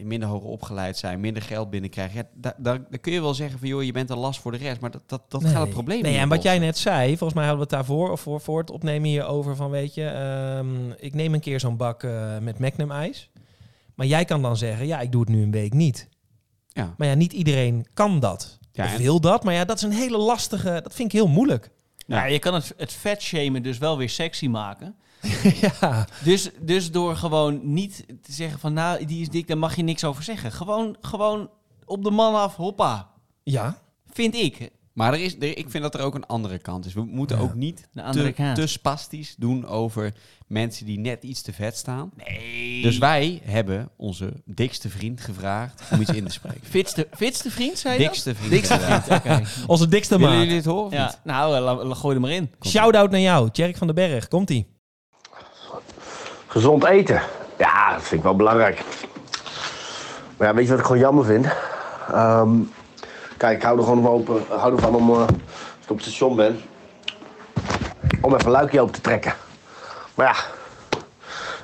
Speaker 3: minder hoog opgeleid zijn, minder geld binnenkrijgen. Ja, daar, daar, daar kun je wel zeggen van joh, je bent een last voor de rest. Maar dat, dat, dat gaat het probleem
Speaker 1: Nee,
Speaker 3: niet
Speaker 1: en wat jij
Speaker 3: oplossen.
Speaker 1: net zei, volgens mij hadden we het daarvoor of voor, voor het opnemen hier over van weet je, ehm, ik neem een keer zo'n bak eh, met Magnum ijs. Maar jij kan dan zeggen, ja, ik doe het nu een week niet.
Speaker 3: Ja.
Speaker 1: Maar ja, niet iedereen kan dat.
Speaker 3: Ja,
Speaker 1: of
Speaker 3: en-
Speaker 1: wil dat. Maar ja, dat is een hele lastige, dat vind ik heel moeilijk.
Speaker 3: Ja.
Speaker 2: Nou, je kan het, het vet shamen dus wel weer sexy maken.
Speaker 1: ja.
Speaker 2: Dus, dus door gewoon niet te zeggen van nou, die is dik, daar mag je niks over zeggen. Gewoon, gewoon op de man af, hoppa.
Speaker 1: Ja,
Speaker 2: Vind ik.
Speaker 3: Maar er is, er- ik vind dat er ook een andere kant is. We moeten
Speaker 1: Ja.
Speaker 3: ook niet
Speaker 2: De andere
Speaker 3: te,
Speaker 2: kant.
Speaker 3: te spastisch doen over mensen die net iets te vet staan.
Speaker 2: Nee.
Speaker 3: Dus wij hebben onze dikste vriend gevraagd om iets in te spreken.
Speaker 2: Fitste, fitste vriend, zei je dat?
Speaker 3: Dikste vriend.
Speaker 2: Dikste
Speaker 3: inderdaad.
Speaker 2: vriend, oké.
Speaker 1: onze dikste
Speaker 3: Willen
Speaker 1: maat.
Speaker 3: jullie dit horen? of niet?
Speaker 2: Ja, nou, eh, la- la- gooi er maar in.
Speaker 1: Shout-out naar jou, Tjerk van den Berg. Komt-ie.
Speaker 4: Gezond eten. Ja, dat vind ik wel belangrijk. Maar ja, weet je wat ik gewoon jammer vind? Ehm, kijk, ik hou er gewoon van, open, hou ervan om, eh, als ik op het station ben, om even een luikje open te trekken. Maar ja,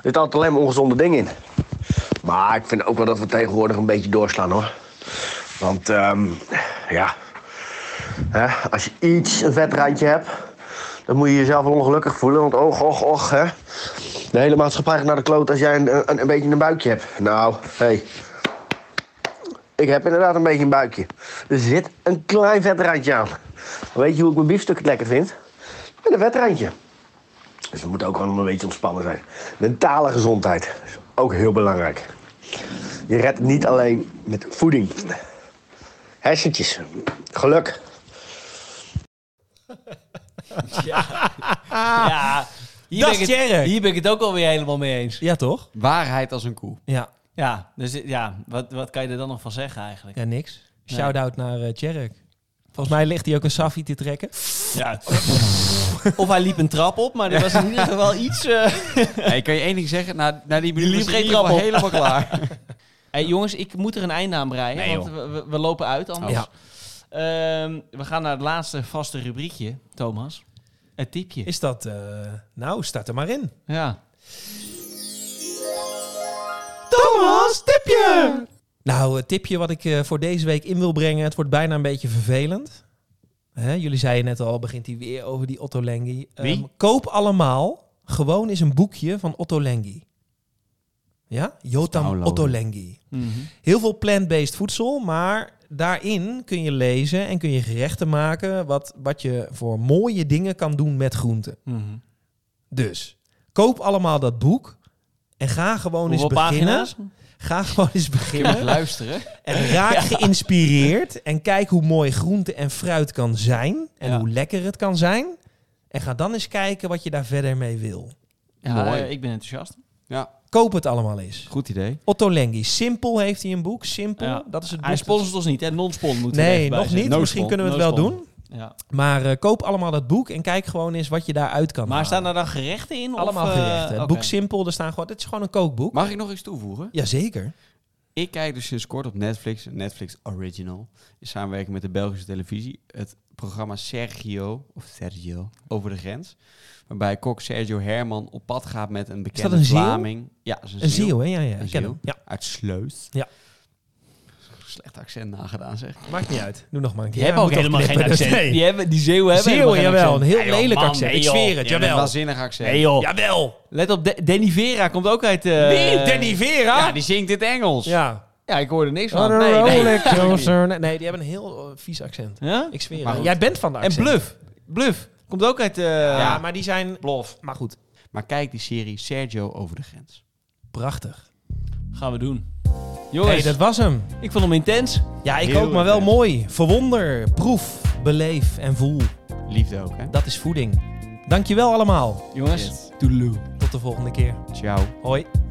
Speaker 4: dit altijd alleen maar ongezonde dingen in. Maar ik vind ook wel dat we tegenwoordig een beetje doorslaan hoor. Want ehm, ja, hè, als je iets een vet randje hebt, dan moet je jezelf wel ongelukkig voelen. Want och, och, och, hè. De hele maatschappij gaat naar de kloot als jij een, een, een beetje een buikje hebt. Nou, hé. Hey. Ik heb inderdaad een beetje een buikje. Er zit een klein vetrandje aan. Maar weet je hoe ik mijn biefstuk het lekker vind? Met een vetrandje. Dus we moeten ook gewoon een beetje ontspannen zijn. Mentale gezondheid is ook heel belangrijk. Je redt het niet alleen met voeding. Hersentjes. Geluk.
Speaker 2: ja, hier
Speaker 1: dat
Speaker 2: ben, ik
Speaker 1: is Tjerk.
Speaker 3: Ah.
Speaker 2: het, hier ben ik het ook alweer helemaal mee eens.
Speaker 1: Ja, toch?
Speaker 3: Waarheid als een koe.
Speaker 1: Ja.
Speaker 2: Ja, dus ja, wat, wat kan je er dan nog van zeggen eigenlijk?
Speaker 1: Ja, niks.
Speaker 2: Nee.
Speaker 1: Shout-out naar eh Tjerk. Volgens mij ligt hij ook een Safi te trekken.
Speaker 2: Ja. of hij liep een trap op, maar er was in ieder geval iets... eh.
Speaker 3: Hey, kan je één ding zeggen? Na, na die minuut
Speaker 2: liep
Speaker 3: was
Speaker 2: geen
Speaker 3: in ieder geval
Speaker 2: trap op.
Speaker 3: helemaal klaar.
Speaker 2: Hey, jongens, ik moet er een einde aan breien,
Speaker 3: Nee,
Speaker 2: want we, we- we lopen uit
Speaker 3: Oh.
Speaker 2: anders.
Speaker 1: Ja.
Speaker 2: Ehm, we gaan naar het laatste vaste rubriekje, Thomas. Het tipje.
Speaker 1: Is dat... eh, nou, start er maar in.
Speaker 2: Ja.
Speaker 1: Thomas, tipje! Nou, het tipje wat ik eh, voor deze week in wil brengen, het wordt bijna een beetje vervelend. Hè, jullie zeiden net al, begint hij weer over die Otto Lengi.
Speaker 2: Wie?
Speaker 1: Ehm, koop allemaal gewoon eens een boekje van Otto Lengi. Ja? Jotam
Speaker 3: Nou, Lauwe.
Speaker 1: Otto Lengi.
Speaker 2: Mhm.
Speaker 1: Heel veel plant-based voedsel, maar daarin kun je lezen en kun je gerechten maken wat, wat je voor mooie dingen kan doen met groenten.
Speaker 2: Mhm.
Speaker 1: Dus koop allemaal dat boek en ga gewoon
Speaker 2: Hoeveel
Speaker 1: eens beginnen.
Speaker 2: pagina's?
Speaker 1: Ga gewoon eens
Speaker 3: Je mag
Speaker 1: beginnen.
Speaker 3: luisteren.
Speaker 1: En raak geïnspireerd. En kijk hoe mooi groente en fruit kan zijn. En
Speaker 2: Ja.
Speaker 1: hoe lekker het kan zijn. En ga dan eens kijken wat je daar verder mee wil.
Speaker 2: Ja,
Speaker 3: Mooi.
Speaker 2: eh, ik ben enthousiast.
Speaker 1: Koop het allemaal eens.
Speaker 3: Goed idee.
Speaker 1: Otto Lengi. Simpel heeft hij een boek. Simpel.
Speaker 2: Ja.
Speaker 1: Dat is het
Speaker 2: Hij
Speaker 1: beste.
Speaker 2: sponsort ons niet, hè? Non-spon moet er
Speaker 1: Nee,
Speaker 2: even bij
Speaker 1: nog
Speaker 2: zeggen.
Speaker 1: niet.
Speaker 3: No
Speaker 1: Misschien
Speaker 3: spon,
Speaker 1: kunnen we het
Speaker 2: no
Speaker 1: wel
Speaker 2: spon.
Speaker 1: doen.
Speaker 2: Ja.
Speaker 1: Maar eh, koop allemaal dat boek en kijk gewoon eens wat je daaruit kan
Speaker 2: Maar
Speaker 1: halen.
Speaker 2: staan er dan gerechten in?
Speaker 1: allemaal
Speaker 2: of, eh,
Speaker 1: gerechten. Het
Speaker 2: oké.
Speaker 1: boek simpel, er staan gewoon... Het is gewoon een kookboek.
Speaker 3: Mag ik nog iets toevoegen?
Speaker 1: Jazeker.
Speaker 3: Ik kijk dus sinds kort op Netflix, Netflix Original, in samenwerking met de Belgische televisie, het programma Sergio, of Sergio, over de grens. Waarbij kok Sergio Herman op pad gaat met een bekende
Speaker 1: dat een ziel?
Speaker 3: Vlaming. Ja, dat is een,
Speaker 1: Een
Speaker 3: ziel.
Speaker 1: ziel, hè? Ja, ja.
Speaker 3: Een
Speaker 1: Ik ken
Speaker 3: ziel.
Speaker 1: hem. Ja,
Speaker 3: Uit Sleus.
Speaker 1: Ja.
Speaker 3: Slecht accent nagedaan zeg.
Speaker 1: maakt niet uit. Doe nog maar een keer.
Speaker 2: Die hebben
Speaker 1: Ja,
Speaker 2: ook
Speaker 1: moet
Speaker 2: helemaal geen
Speaker 1: knippen,
Speaker 2: accent.
Speaker 1: dus nee.
Speaker 2: Die, hebben, die Zeeuwen hebben
Speaker 1: Zeeuwen,
Speaker 2: helemaal geen
Speaker 1: jawel.
Speaker 2: accent.
Speaker 1: Een heel
Speaker 2: Nee, joh,
Speaker 1: lelijk
Speaker 2: man,
Speaker 1: accent.
Speaker 2: nee,
Speaker 1: Ik
Speaker 2: joh.
Speaker 1: zweer het,
Speaker 2: Ja, Oh.
Speaker 1: jawel.
Speaker 3: Een waanzinnig accent.
Speaker 2: Nee joh.
Speaker 1: Jawel.
Speaker 2: Let op, De- Danny Vera komt ook uit... eh
Speaker 1: Wie? Danny Vera? Oh,
Speaker 3: Ja, die zingt in het Engels.
Speaker 1: Ja.
Speaker 2: Ja, ik hoorde niks
Speaker 1: Wat
Speaker 2: van.
Speaker 1: een
Speaker 2: Nee, nee.
Speaker 1: Rolex, Johnson. Nee, die hebben een heel eh, vies accent.
Speaker 2: Ja?
Speaker 1: Ik zweer
Speaker 3: Maar
Speaker 1: het.
Speaker 3: goed.
Speaker 1: Jij bent van de
Speaker 2: En
Speaker 1: accent.
Speaker 2: Bluff. Bluff. Komt ook uit... eh,
Speaker 1: Ja, maar die zijn... Bluff. Maar goed.
Speaker 3: Maar kijk die serie Sergio over de grens.
Speaker 1: Prachtig.
Speaker 2: Gaan we doen.
Speaker 1: Hey,
Speaker 2: Jongens,
Speaker 1: dat was hem.
Speaker 2: ik vond hem intens.
Speaker 1: Ja, ik
Speaker 3: Heel
Speaker 1: ook, maar wel
Speaker 3: intens.
Speaker 1: mooi. Verwonder, proef, beleef en voel.
Speaker 3: Liefde ook, hè?
Speaker 1: Dat is voeding. Dankjewel allemaal.
Speaker 2: Jongens,
Speaker 3: Yes.
Speaker 2: toedeloe.
Speaker 1: Tot de volgende keer.
Speaker 3: Ciao.
Speaker 1: Hoi.